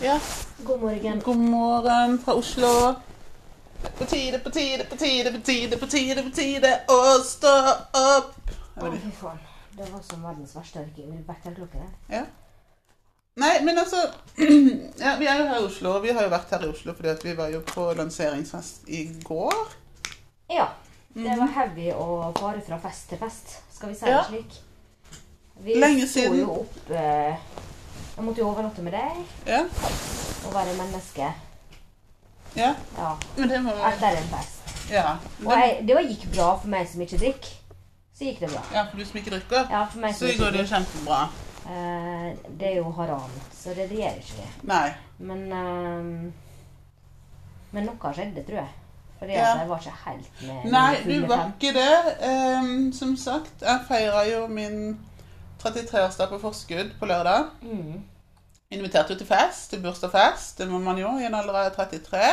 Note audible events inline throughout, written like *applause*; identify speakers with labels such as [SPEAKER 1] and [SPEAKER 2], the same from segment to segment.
[SPEAKER 1] Ja.
[SPEAKER 2] God morgen.
[SPEAKER 1] God morgen fra Oslo. På tide, på tide, på tide, på tide, på tide, på tide å stå opp.
[SPEAKER 2] Å, fy faen. Det var som verdens verste vekkerklokke. det.
[SPEAKER 1] Ja. Nei, men altså *clears throat* ja, Vi er jo her i Oslo. og Vi har jo vært her i Oslo fordi at vi var jo på lanseringsfest i går.
[SPEAKER 2] Ja. Det var heavy å fare fra fest til fest, skal vi si det
[SPEAKER 1] Mhm. Ja.
[SPEAKER 2] slik. Vi
[SPEAKER 1] Lenge
[SPEAKER 2] sto
[SPEAKER 1] siden.
[SPEAKER 2] jo opp eh, Jeg måtte jo overnatte med deg
[SPEAKER 1] Ja.
[SPEAKER 2] og være menneske.
[SPEAKER 1] ja.
[SPEAKER 2] Ja.
[SPEAKER 1] Men det må vi
[SPEAKER 2] Etter en fest.
[SPEAKER 1] Ja.
[SPEAKER 2] Og
[SPEAKER 1] Det,
[SPEAKER 2] jeg, det var- gikk bra for meg som ikke drikker. Så gikk det bra.
[SPEAKER 1] ja for du som ikke drikker,
[SPEAKER 2] Ja, for meg som
[SPEAKER 1] så
[SPEAKER 2] ikke
[SPEAKER 1] går det jo
[SPEAKER 2] drikker.
[SPEAKER 1] kjempebra.
[SPEAKER 2] Eh, det er jo haram, så det, det gjør ikke det.
[SPEAKER 1] Nei.
[SPEAKER 2] Men eh, Men noe skjedde, tror jeg. Fordi
[SPEAKER 1] Ja.
[SPEAKER 2] at jeg var ikke helt med
[SPEAKER 1] Nei,
[SPEAKER 2] med
[SPEAKER 1] du
[SPEAKER 2] fulle
[SPEAKER 1] var
[SPEAKER 2] fem.
[SPEAKER 1] ikke det. Ehm, som sagt, jeg feira jo min 33-årsdag på forskudd på lørdag.
[SPEAKER 2] Mm.
[SPEAKER 1] Inviterte jo til fest, til bursdagsfest. Det må man jo i en alder av 33.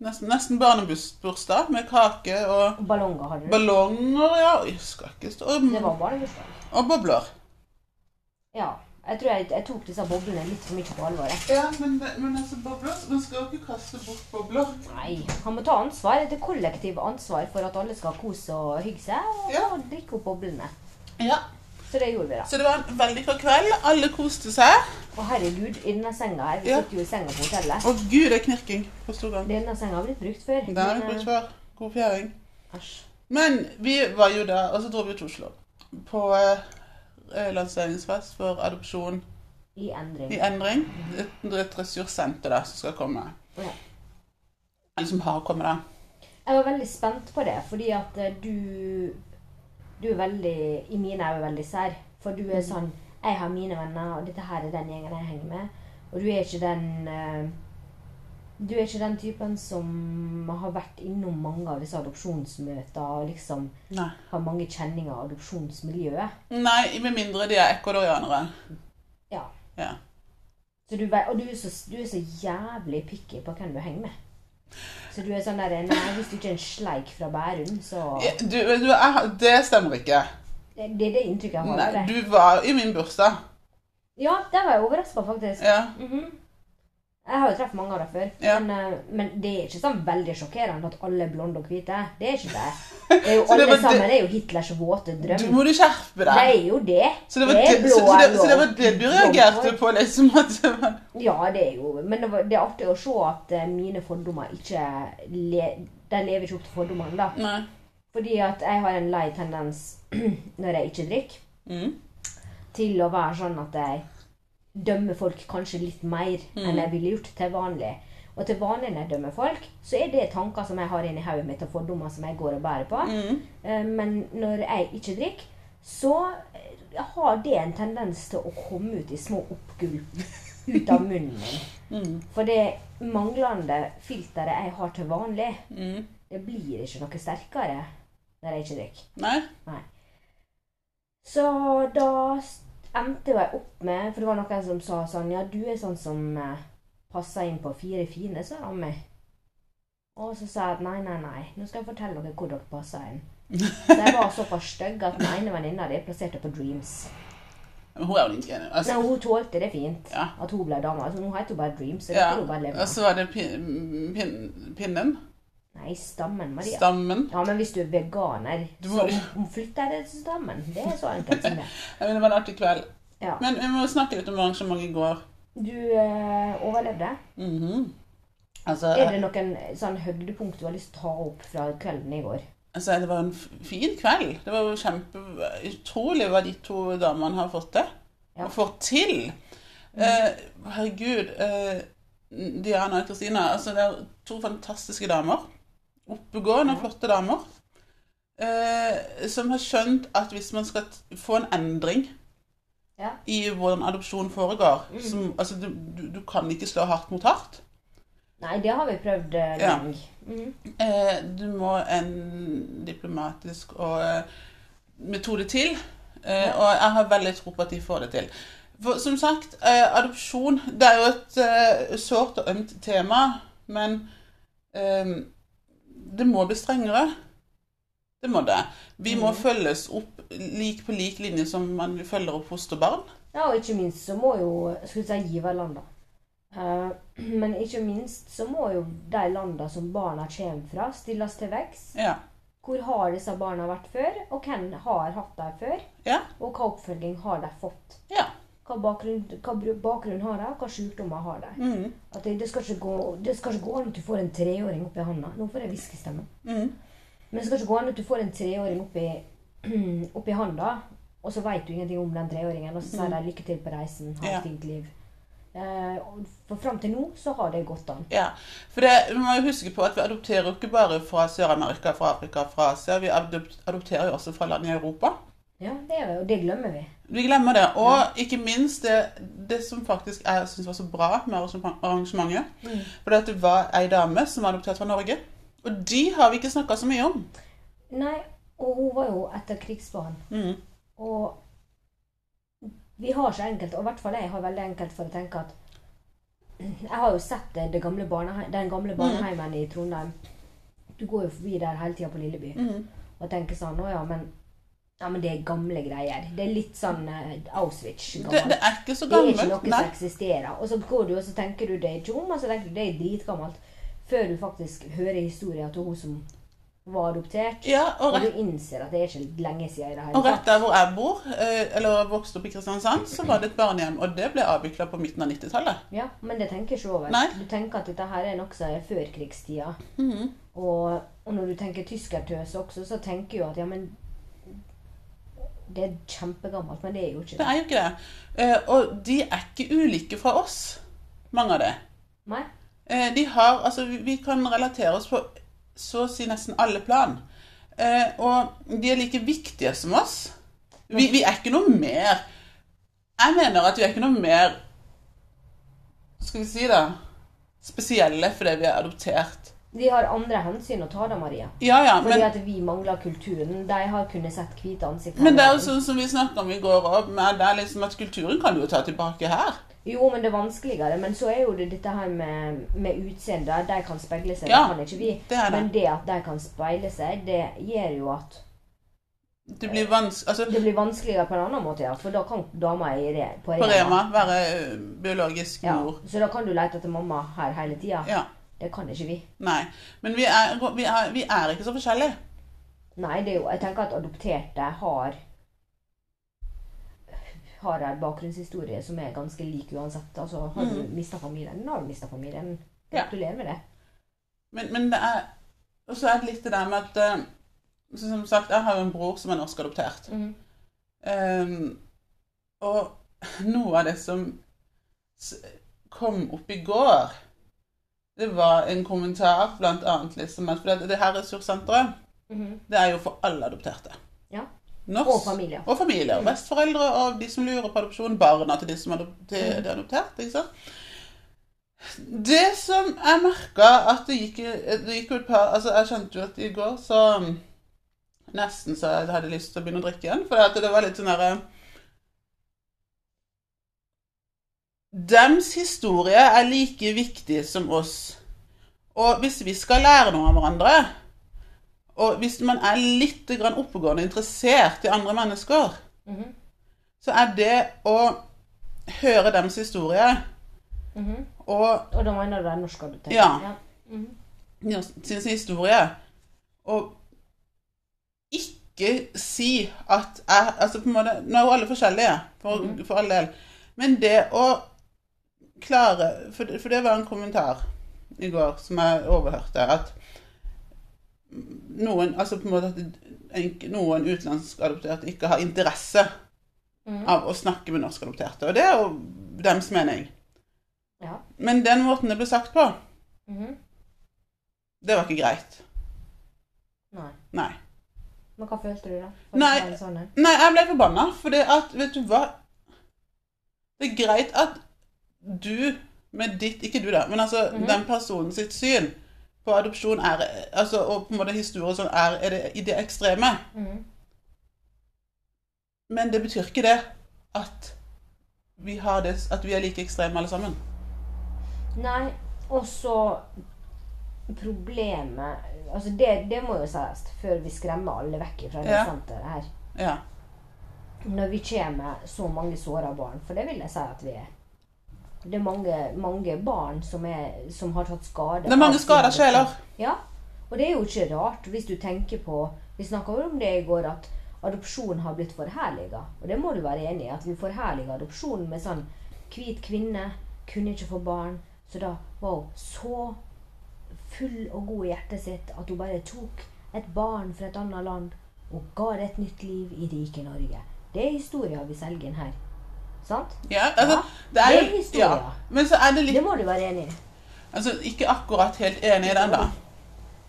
[SPEAKER 1] Nesten, nesten barnebursdag med kake og
[SPEAKER 2] Ballonger hadde du.
[SPEAKER 1] ballonger, ja. Oi, skal ikke stå Og,
[SPEAKER 2] det var barnebursdag.
[SPEAKER 1] og bobler.
[SPEAKER 2] Ja. Jeg tror jeg, jeg tok disse boblene litt for mye på alvor. jeg.
[SPEAKER 1] Ja, men, det- men altså, bobler Man skal jo ikke kaste bort bobler.
[SPEAKER 2] Nei, han må ta ansvar. Det kollektive ansvar for at alle skal kose og hygge seg og,
[SPEAKER 1] Ja.
[SPEAKER 2] og drikke opp boblene.
[SPEAKER 1] Ja.
[SPEAKER 2] Så det gjorde vi, da.
[SPEAKER 1] Så det var en veldig god kveld. Alle koste seg.
[SPEAKER 2] Og herregud, i denne senga her Vi
[SPEAKER 1] Ja.
[SPEAKER 2] sitter jo i senga på hotellet.
[SPEAKER 1] Å gud, det er knirking på stor gang.
[SPEAKER 2] Denne senga har blitt brukt før.
[SPEAKER 1] Den har vi brukt før. God fjæring.
[SPEAKER 2] eh, æsj.
[SPEAKER 1] Men vi var jo der, og så dro vi til Oslo. På eh, lanseringsfest for adopsjon
[SPEAKER 2] I endring.
[SPEAKER 1] i endring. Et, et ressurssenter da, som skal komme.
[SPEAKER 2] Ja.
[SPEAKER 1] Eller som har kommet, da.
[SPEAKER 2] Jeg var veldig spent på det, fordi at eh, du Du er veldig I mine øyne veldig sær. For du
[SPEAKER 1] Mm.
[SPEAKER 2] er sånn Jeg har mine venner, og dette her er den gjengen jeg henger med. Og du er ikke den eh, Du er ikke den typen som har vært innom mange av disse adopsjonsmøtene og liksom
[SPEAKER 1] Nei.
[SPEAKER 2] har mange kjenninger av adopsjonsmiljøet.
[SPEAKER 1] Nei, med mindre de er ecuadorianere.
[SPEAKER 2] Ja.
[SPEAKER 1] Ja.
[SPEAKER 2] Så du, ve- og du er, så, du er så jævlig picky på hvem du henger med. Så du er sånn der Nei, hvis du ikke er en sleik fra Bærum, så
[SPEAKER 1] Ja, Eh, Du, du, jeg, det stemmer ikke.
[SPEAKER 2] Det det er det inntrykket jeg har.
[SPEAKER 1] Nei,
[SPEAKER 2] av det.
[SPEAKER 1] du var i min bursdag.
[SPEAKER 2] Ja, der var jeg overraska, faktisk.
[SPEAKER 1] Ja.
[SPEAKER 2] Mhm. Jeg har jo truffet mange av dem før.
[SPEAKER 1] Ja.
[SPEAKER 2] Men, eh, men det er ikke sånn veldig sjokkerende at alle er blonde og hvite. Det er ikke det. det er
[SPEAKER 1] *laughs*
[SPEAKER 2] jo,
[SPEAKER 1] Så det
[SPEAKER 2] alle
[SPEAKER 1] var det-
[SPEAKER 2] sammen er jo Hitlers våte drøm.
[SPEAKER 1] Du må du skjerpe
[SPEAKER 2] Det
[SPEAKER 1] deg.
[SPEAKER 2] er jo det.
[SPEAKER 1] Så det, var
[SPEAKER 2] er
[SPEAKER 1] det,
[SPEAKER 2] blå
[SPEAKER 1] så, så, det,
[SPEAKER 2] er
[SPEAKER 1] så det var
[SPEAKER 2] blå.
[SPEAKER 1] det du reagerte
[SPEAKER 2] Blå.
[SPEAKER 1] på, liksom? At det var,
[SPEAKER 2] Ja, det er jo Men det, var, det er artig å se at eh, mine fordommer ikke le, De lever ikke opp til fordommene, da.
[SPEAKER 1] nei.
[SPEAKER 2] Fordi at jeg har en lei tendens *clears throat* når jeg ikke drikker.
[SPEAKER 1] Mm.
[SPEAKER 2] til å være sånn at jeg dømmer folk kanskje litt mer
[SPEAKER 1] Mm.
[SPEAKER 2] enn jeg ville gjort til vanlig. Og til vanlig når jeg dømmer folk, så er det tanker som jeg har inni hodet mitt, og fordommer som jeg går og bærer på.
[SPEAKER 1] Mm.
[SPEAKER 2] Eh, Men når jeg ikke drikker, så eh, har det en tendens til å komme ut i små oppgulp ut av munnen min.
[SPEAKER 1] *laughs* Mm.
[SPEAKER 2] For det manglende filteret jeg har til vanlig,
[SPEAKER 1] Mm.
[SPEAKER 2] det blir ikke noe sterkere når jeg ikke drikker.
[SPEAKER 1] Nei.
[SPEAKER 2] Så da s- endte jo jeg opp med For det var noen som sa sånn Ja, du er sånn som eh, passer inn på fire fine, sa han meg. Og så sa jeg at nei, nei, nei, nå skal jeg fortelle dere hvor dere passer inn. Så jeg var såpass stygg at den ene venninna di plasserte på Dreams.
[SPEAKER 1] Men Hun er jo ikke enig. Altså,
[SPEAKER 2] Men hun tålte det fint
[SPEAKER 1] Ja.
[SPEAKER 2] at hun ble dame. Altså, nå heter hun bare Dreams. Så det
[SPEAKER 1] Ja, Altså,
[SPEAKER 2] får hun bare leve
[SPEAKER 1] og
[SPEAKER 2] med.
[SPEAKER 1] så var det pin, pin, pinnen.
[SPEAKER 2] Nei, stammen, Maria.
[SPEAKER 1] Stammen.
[SPEAKER 2] Ja, men hvis du er veganer,
[SPEAKER 1] Du
[SPEAKER 2] så
[SPEAKER 1] må-
[SPEAKER 2] flytter jeg det til stammen. Det er så enkelt som det.
[SPEAKER 1] Jeg mener, det var en artig kveld.
[SPEAKER 2] Ja.
[SPEAKER 1] Men vi må snakke litt om arrangementet i går.
[SPEAKER 2] Du eh, overlevde.
[SPEAKER 1] Mhm. altså,
[SPEAKER 2] Er det noen sånn høydepunkt du har lyst til å ta opp fra kvelden i går?
[SPEAKER 1] altså, det var en f- fin kveld. Det var jo kjempe... Utrolig hva de to damene har fått til.
[SPEAKER 2] Ja. Mm.
[SPEAKER 1] Og fått til. Eh, herregud. Eh, Diana og Kristina. Altså, det er to fantastiske damer. Oppegående,
[SPEAKER 2] Ja.
[SPEAKER 1] flotte damer. Eh, som har skjønt at hvis man skal t- få en endring
[SPEAKER 2] Ja.
[SPEAKER 1] i hvordan adopsjon foregår.
[SPEAKER 2] Mm.
[SPEAKER 1] Som, altså, du, du, du kan ikke slå hardt mot hardt.
[SPEAKER 2] Nei, det har vi prøvd eh,
[SPEAKER 1] Ja.
[SPEAKER 2] lenge. Mhm.
[SPEAKER 1] Eh, du må en diplomatisk og, eh, metode til. Eh,
[SPEAKER 2] Ja.
[SPEAKER 1] og jeg har veldig tro på at de får det til. For, som sagt, eh, adopsjon det er jo et eh, sårt og ømt tema, men eh, det må bli strengere. Det må det. Vi må
[SPEAKER 2] Mhm.
[SPEAKER 1] følges opp lik på lik linje som man følger opp fosterbarn.
[SPEAKER 2] Ja, og ikke minst så må jo skulle jeg si giverland, da. Eh, *clears throat* men ikke minst så må jo de landene som barna kommer fra, stilles til vekst.
[SPEAKER 1] Ja.
[SPEAKER 2] Hvor har disse barna vært før, og hvem har hatt dem før?
[SPEAKER 1] Ja.
[SPEAKER 2] Og hva oppfølging har de fått?
[SPEAKER 1] Ja.
[SPEAKER 2] Hva bakgrunn, hva bru- bakgrunn har de, og hva sykdommer har de?
[SPEAKER 1] Mm.
[SPEAKER 2] At det, det, skal ikke gå, det skal ikke gå an at du får en treåring opp i handa. Nå får jeg hviskestemme.
[SPEAKER 1] Mm.
[SPEAKER 2] Men det skal ikke gå an at du får en treåring opp i, *clears throat* opp i handa, og så veit du ingenting om den treåringen, og så sier de lykke til på reisen, ha
[SPEAKER 1] Ja.
[SPEAKER 2] et fint liv. Eh, og for fram til nå så har det gått an.
[SPEAKER 1] Ja, for det, vi må jo huske på at vi adopterer jo ikke bare fra Sør-Amerika, fra Afrika, fra Asia. Vi adop- adopterer jo også fra land i Europa.
[SPEAKER 2] Ja, det, er, og det glemmer vi.
[SPEAKER 1] Vi glemmer det. Og ikke minst det, det som faktisk jeg syns var så bra med arrangementet,
[SPEAKER 2] Mm.
[SPEAKER 1] for det at det var ei dame som var adoptert fra Norge. Og de har vi ikke snakka så mye om.
[SPEAKER 2] Nei, og hun var jo etter krigsbarn.
[SPEAKER 1] Mm.
[SPEAKER 2] Og vi har så enkelt, og i hvert fall jeg har veldig enkelt for å tenke at Jeg har jo sett det, det gamle barnehe den
[SPEAKER 1] Mm.
[SPEAKER 2] gamle barneheimen i Trondheim. Du går jo forbi der hele tida på Lilleby
[SPEAKER 1] Mm.
[SPEAKER 2] og tenker sånn Å ja, men, ja, men det er gamle greier. Det er litt sånn eh,
[SPEAKER 1] Det,
[SPEAKER 2] Auschwitz-gammelt.
[SPEAKER 1] det er ikke så
[SPEAKER 2] Det er ikke
[SPEAKER 1] gammelt.
[SPEAKER 2] noe som eksisterer. Og så går du og så tenker du det er ikke om, og så tenker du det er dritgammelt. Før du faktisk hører historien til hun som var adoptert,
[SPEAKER 1] Ja, og
[SPEAKER 2] og
[SPEAKER 1] rett,
[SPEAKER 2] du innser at det er ikke lenge siden i det
[SPEAKER 1] og
[SPEAKER 2] hele
[SPEAKER 1] rett der hvor jeg bor, eh, eller vokste opp i Kristiansand, så var det et barnehjem. Og det ble avvikla på midten av 90-tallet.
[SPEAKER 2] Ja, men det tenker ikke over.
[SPEAKER 1] Nei.
[SPEAKER 2] Du tenker at dette her er noe som er før krigstida.
[SPEAKER 1] Mhm.
[SPEAKER 2] Og, og når du tenker tyskertøs også, så tenker du at ja, men Det er kjempegammelt, men det er jo ikke
[SPEAKER 1] Det
[SPEAKER 2] det.
[SPEAKER 1] er jo ikke det. Eh, Og de er ikke ulike fra oss, mange av det.
[SPEAKER 2] Nei.
[SPEAKER 1] Eh, De har, altså vi- vi kan relatere oss på så å si nesten alle plan. Eh, Og de er like viktige som oss. Vi, vi er ikke noe mer Jeg mener at vi er ikke noe mer Skal vi si det? Spesielle fordi vi er adoptert.
[SPEAKER 2] Vi har andre hensyn å ta da, Maria.
[SPEAKER 1] Ja, ja,
[SPEAKER 2] Fordi
[SPEAKER 1] men
[SPEAKER 2] at vi mangler kulturen. De har kunnet sett hvite ansikter.
[SPEAKER 1] men det er jo sånn som vi snakka om i går òg, med det er liksom at kulturen kan du jo ta tilbake her.
[SPEAKER 2] Jo, men det er vanskeligere. Men så er jo det dette her med, med utseende. De kan speile seg,
[SPEAKER 1] Ja,
[SPEAKER 2] det kan ikke vi.
[SPEAKER 1] Det er det.
[SPEAKER 2] Men det at de kan speile seg, det gjør jo at
[SPEAKER 1] Det blir vanskelig Altså,
[SPEAKER 2] det blir vanskeligere på en annen måte. Ja. For da kan dama i re, på
[SPEAKER 1] på
[SPEAKER 2] Rema
[SPEAKER 1] Rema være ø, biologisk
[SPEAKER 2] Ja,
[SPEAKER 1] mor.
[SPEAKER 2] så da kan du lete etter mamma her hele tida.
[SPEAKER 1] Ja.
[SPEAKER 2] Det kan ikke vi.
[SPEAKER 1] Nei. Men vi er, vi, er, vi er ikke så forskjellige.
[SPEAKER 2] Nei, det er jo, jeg tenker at adopterte har har en bakgrunnshistorie som er ganske lik uansett. Altså, har du mista familien, da har du mista familien.
[SPEAKER 1] Mm. Ja.
[SPEAKER 2] Gratulerer med det.
[SPEAKER 1] Men, men det er Og så er det litt det der med at ø, så Som sagt, jeg har jo en bror som er norsk adoptert. Ehm, og noe av det som s- kom opp i går, det var en kommentar blant annet liksom at For det, det her ressurssenteret,
[SPEAKER 2] Mhm.
[SPEAKER 1] det er jo for alle adopterte.
[SPEAKER 2] Ja.
[SPEAKER 1] Norsk,
[SPEAKER 2] Og familier.
[SPEAKER 1] Og familie, og besteforeldre, og de som lurer på adopsjon, barna til de som er adop- til de er adoptert. ikke sant? Det som jeg merka at det gikk, det gikk jo et par altså Jeg kjente jo at i går så Nesten så jeg hadde lyst til å begynne å drikke igjen. For det, at det var litt sånn derre Dems historie er like viktig som oss. Og hvis vi skal lære noe om hverandre, og hvis man er litt grann oppegående interessert i andre mennesker,
[SPEAKER 2] Mhm.
[SPEAKER 1] så er det å høre deres historie
[SPEAKER 2] Mhm.
[SPEAKER 1] og
[SPEAKER 2] Og da mener du det er norsk adoptert?
[SPEAKER 1] Ja.
[SPEAKER 2] Mhm.
[SPEAKER 1] sin historie og ikke si at jeg Altså på en måte Nå er jo alle forskjellige, for, for all del. Men det å klare for, for det var en kommentar i går som jeg overhørte, at noen altså på en måte at en- noen utenlandskadopterte ikke har interesse
[SPEAKER 2] Mhm.
[SPEAKER 1] av å snakke med norskadopterte. Og det er jo deres mening.
[SPEAKER 2] Ja.
[SPEAKER 1] Men den måten det ble sagt på,
[SPEAKER 2] Mhm.
[SPEAKER 1] det var ikke greit.
[SPEAKER 2] Nei.
[SPEAKER 1] Nei.
[SPEAKER 2] Men hva følte du, da? Var det
[SPEAKER 1] Nei.
[SPEAKER 2] bare en Sånn, en?
[SPEAKER 1] Nei, jeg ble forbanna, for det at Vet du hva? Det er greit at du med ditt Ikke du, da, men altså
[SPEAKER 2] Mhm.
[SPEAKER 1] den personen sitt syn på adopsjon er altså, Og på en måte historie sånn er, er det, i det ekstreme.
[SPEAKER 2] Mhm.
[SPEAKER 1] Men det betyr ikke det at vi, har det, at vi er like ekstreme alle sammen.
[SPEAKER 2] Nei, og så problemet Altså, det, det må jo sies før vi skremmer alle vekk fra det
[SPEAKER 1] Ja.
[SPEAKER 2] senteret her.
[SPEAKER 1] Ja.
[SPEAKER 2] Når vi kommer med så mange såra barn, for det vil jeg si at vi er. Det er mange, mange barn som, er, som har tatt skade.
[SPEAKER 1] Det er mange
[SPEAKER 2] av
[SPEAKER 1] skada
[SPEAKER 2] sin-
[SPEAKER 1] sjeler.
[SPEAKER 2] Ja, og det er jo ikke rart hvis du tenker på Vi snakka om det i går, at adopsjon har blitt forherliga. Og det må du være enig i, at vi forherliger adopsjon med sånn Hvit kvinne kunne ikke få barn, så da wow, så full og god i hjertet sitt at hun bare tok et barn fra et annet land og ga det et nytt liv i rike Norge. Det er historien vi selger inn her. Sant?
[SPEAKER 1] Ja, altså,
[SPEAKER 2] Ja,
[SPEAKER 1] det er
[SPEAKER 2] det er
[SPEAKER 1] jo
[SPEAKER 2] historia.
[SPEAKER 1] ja. Men så er det
[SPEAKER 2] Det
[SPEAKER 1] litt
[SPEAKER 2] må du være enig i.
[SPEAKER 1] Altså, ikke akkurat helt enig i den, da.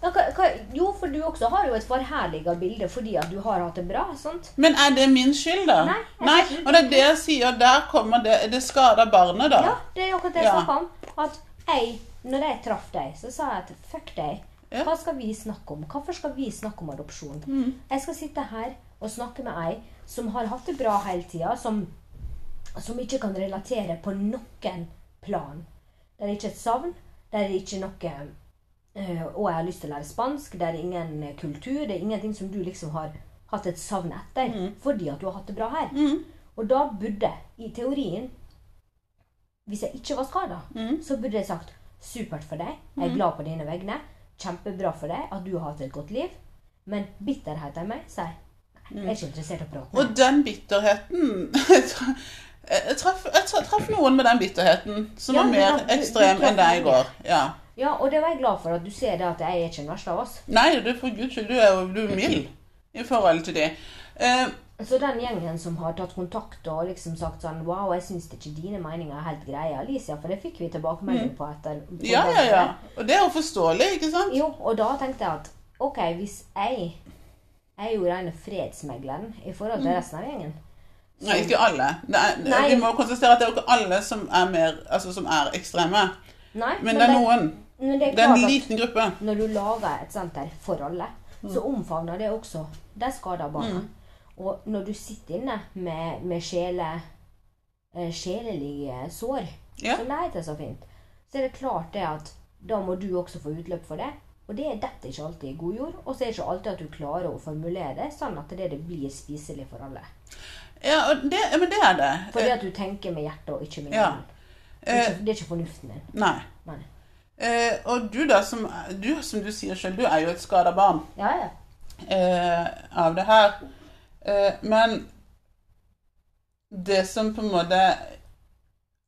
[SPEAKER 2] Ja, hva, hva, jo, for du også har jo et forherliga bilde fordi at du har hatt det bra. sant?
[SPEAKER 1] Men er det min skyld, da?
[SPEAKER 2] Nei, jeg
[SPEAKER 1] Nei.
[SPEAKER 2] synes-
[SPEAKER 1] Og det er det jeg sier. Der kommer det Det skader barnet, da.
[SPEAKER 2] Ja, det er jo akkurat det jeg
[SPEAKER 1] Ja.
[SPEAKER 2] snakka om. At jeg, når jeg traff deg, så sa jeg at fuck deg.
[SPEAKER 1] Ja. Mm.
[SPEAKER 2] Hva skal vi snakke om? Hvorfor skal vi snakke om adopsjon? Jeg skal sitte her og snakke med ei som har hatt det bra hele tida, som, som ikke kan relatere på noen plan. Det er ikke et savn. Det er ikke noe eh, Og jeg har lyst til å lære spansk. Det er ingen eh, kultur. Det er ingenting som du liksom har hatt et savn etter fordi at du har hatt det bra her. Og da burde, i teorien, hvis jeg ikke var skada, så burde jeg sagt supert for deg, jeg er glad på dine vegne, kjempebra for deg at du har hatt et godt liv, men bitterheten i meg sier nei, jeg er ikke interessert i å prate med
[SPEAKER 1] Og den bitterheten *laughs* Jeg tra- jeg traff, jeg tra- traff noen med den bitterheten som
[SPEAKER 2] Ja,
[SPEAKER 1] var
[SPEAKER 2] men
[SPEAKER 1] mer
[SPEAKER 2] da- du- du
[SPEAKER 1] ekstrem
[SPEAKER 2] traff
[SPEAKER 1] enn deg i
[SPEAKER 2] mange.
[SPEAKER 1] går. Ja.
[SPEAKER 2] deg. Ja, og det var jeg glad for at du ser det at jeg er ikke den verste av oss.
[SPEAKER 1] Nei, du, for guds skyld, du er jo du er mild i forhold til det. Eh,
[SPEAKER 2] Så den gjengen som har tatt kontakt og liksom sagt sånn Wow, jeg syns ikke dine meninger er helt greie, Alicia, for det fikk vi tilbakemelding på etter. på
[SPEAKER 1] Mm. ja, ja,
[SPEAKER 2] den-
[SPEAKER 1] ja. Og det er jo forståelig, ikke sant?
[SPEAKER 2] Jo, og da tenkte jeg at OK, hvis jeg Jeg er jo rene fredsmegleren i forhold
[SPEAKER 1] Mm.
[SPEAKER 2] til resten av gjengen.
[SPEAKER 1] Nei, ikke alle. Nei,
[SPEAKER 2] Nei.
[SPEAKER 1] Vi må konstatere at det er jo ikke alle som er, mer, altså, som er ekstreme.
[SPEAKER 2] Nei,
[SPEAKER 1] Men det er noen.
[SPEAKER 2] men det er
[SPEAKER 1] Det er en
[SPEAKER 2] klart at
[SPEAKER 1] liten gruppe.
[SPEAKER 2] når du lager et senter for alle, så
[SPEAKER 1] Mm.
[SPEAKER 2] omfavner det også de skada barna. Og når du sitter inne med, med sjele, eh, sjelelige sår,
[SPEAKER 1] Ja.
[SPEAKER 2] som det heter så fint, så er det klart det at da må du også få utløp for det. Og det detter ikke alltid i god jord. Og så er det ikke alltid at du klarer å formulere det sånn at det, det blir spiselig for alle.
[SPEAKER 1] Ja, og det, ja, men det er det.
[SPEAKER 2] Fordi at du tenker med hjertet og ikke med
[SPEAKER 1] Ja. Eh.
[SPEAKER 2] hjernen. Det er ikke, det er ikke fornuften din.
[SPEAKER 1] Nei.
[SPEAKER 2] Nei.
[SPEAKER 1] Eh, og du da, som du, som du sier selv, du er jo et skada barn.
[SPEAKER 2] Ja, ja.
[SPEAKER 1] eh, av det her. Eh, men det som på en måte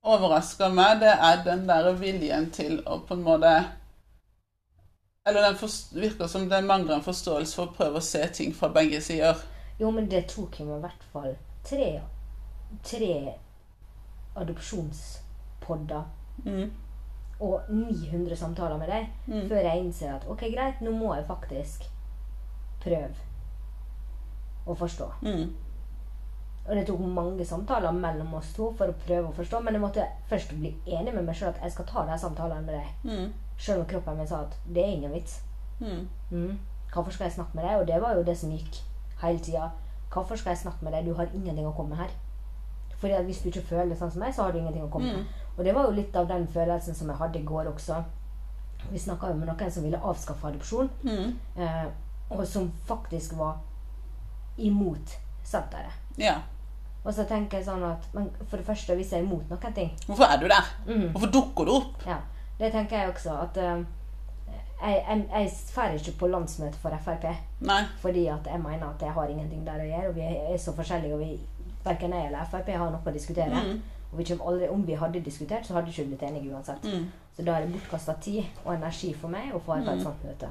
[SPEAKER 1] overrasker meg, det er den der viljen til å på en måte Eller den forst- virker som det mangler en forståelse for å prøve å se ting fra begge sider.
[SPEAKER 2] Jo, men det tok jo meg i hvert fall tre, tre adopsjonspodder
[SPEAKER 1] Mm.
[SPEAKER 2] og 900 samtaler med deg før jeg innser at ok, greit, nå må jeg faktisk prøve å forstå.
[SPEAKER 1] Mm.
[SPEAKER 2] Og det tok mange samtaler mellom oss to for å prøve å forstå, men jeg måtte først bli enig med meg sjøl at jeg skal ta de samtalene med deg.
[SPEAKER 1] Mm.
[SPEAKER 2] Sjøl om kroppen min sa at det er ingen vits.
[SPEAKER 1] Mm.
[SPEAKER 2] Mm. Hvorfor skal jeg snakke med deg? Og det var jo det som gikk hele tida. Hvorfor skal jeg snakke med deg? Du har ingenting å komme med her. Fordi at hvis du ikke føler sånn som meg, så har du ingenting å komme med. Og det var jo litt av den følelsen som jeg hadde i går også. Vi snakka jo med noen som ville avskaffe adopsjon,
[SPEAKER 1] Mm.
[SPEAKER 2] eh, og som faktisk var imot senteret.
[SPEAKER 1] Ja.
[SPEAKER 2] Og så tenker jeg sånn at men For det første, hvis jeg er imot noen ting
[SPEAKER 1] Hvorfor er du der?
[SPEAKER 2] mm,
[SPEAKER 1] Hvorfor dukker du opp?
[SPEAKER 2] ja, Det tenker jeg også. At eh, jeg, jeg, jeg drar ikke på landsmøte for Frp.
[SPEAKER 1] Nei.
[SPEAKER 2] Fordi at jeg mener at jeg har ingenting der å gjøre, og vi er så forskjellige, og vi, hverken jeg eller Frp har noe å diskutere. Og vi kommer aldri, om vi hadde diskutert, så hadde vi ikke blitt enige uansett.
[SPEAKER 1] Mm.
[SPEAKER 2] Så da er det bortkasta tid og energi for meg å få et sånt møte.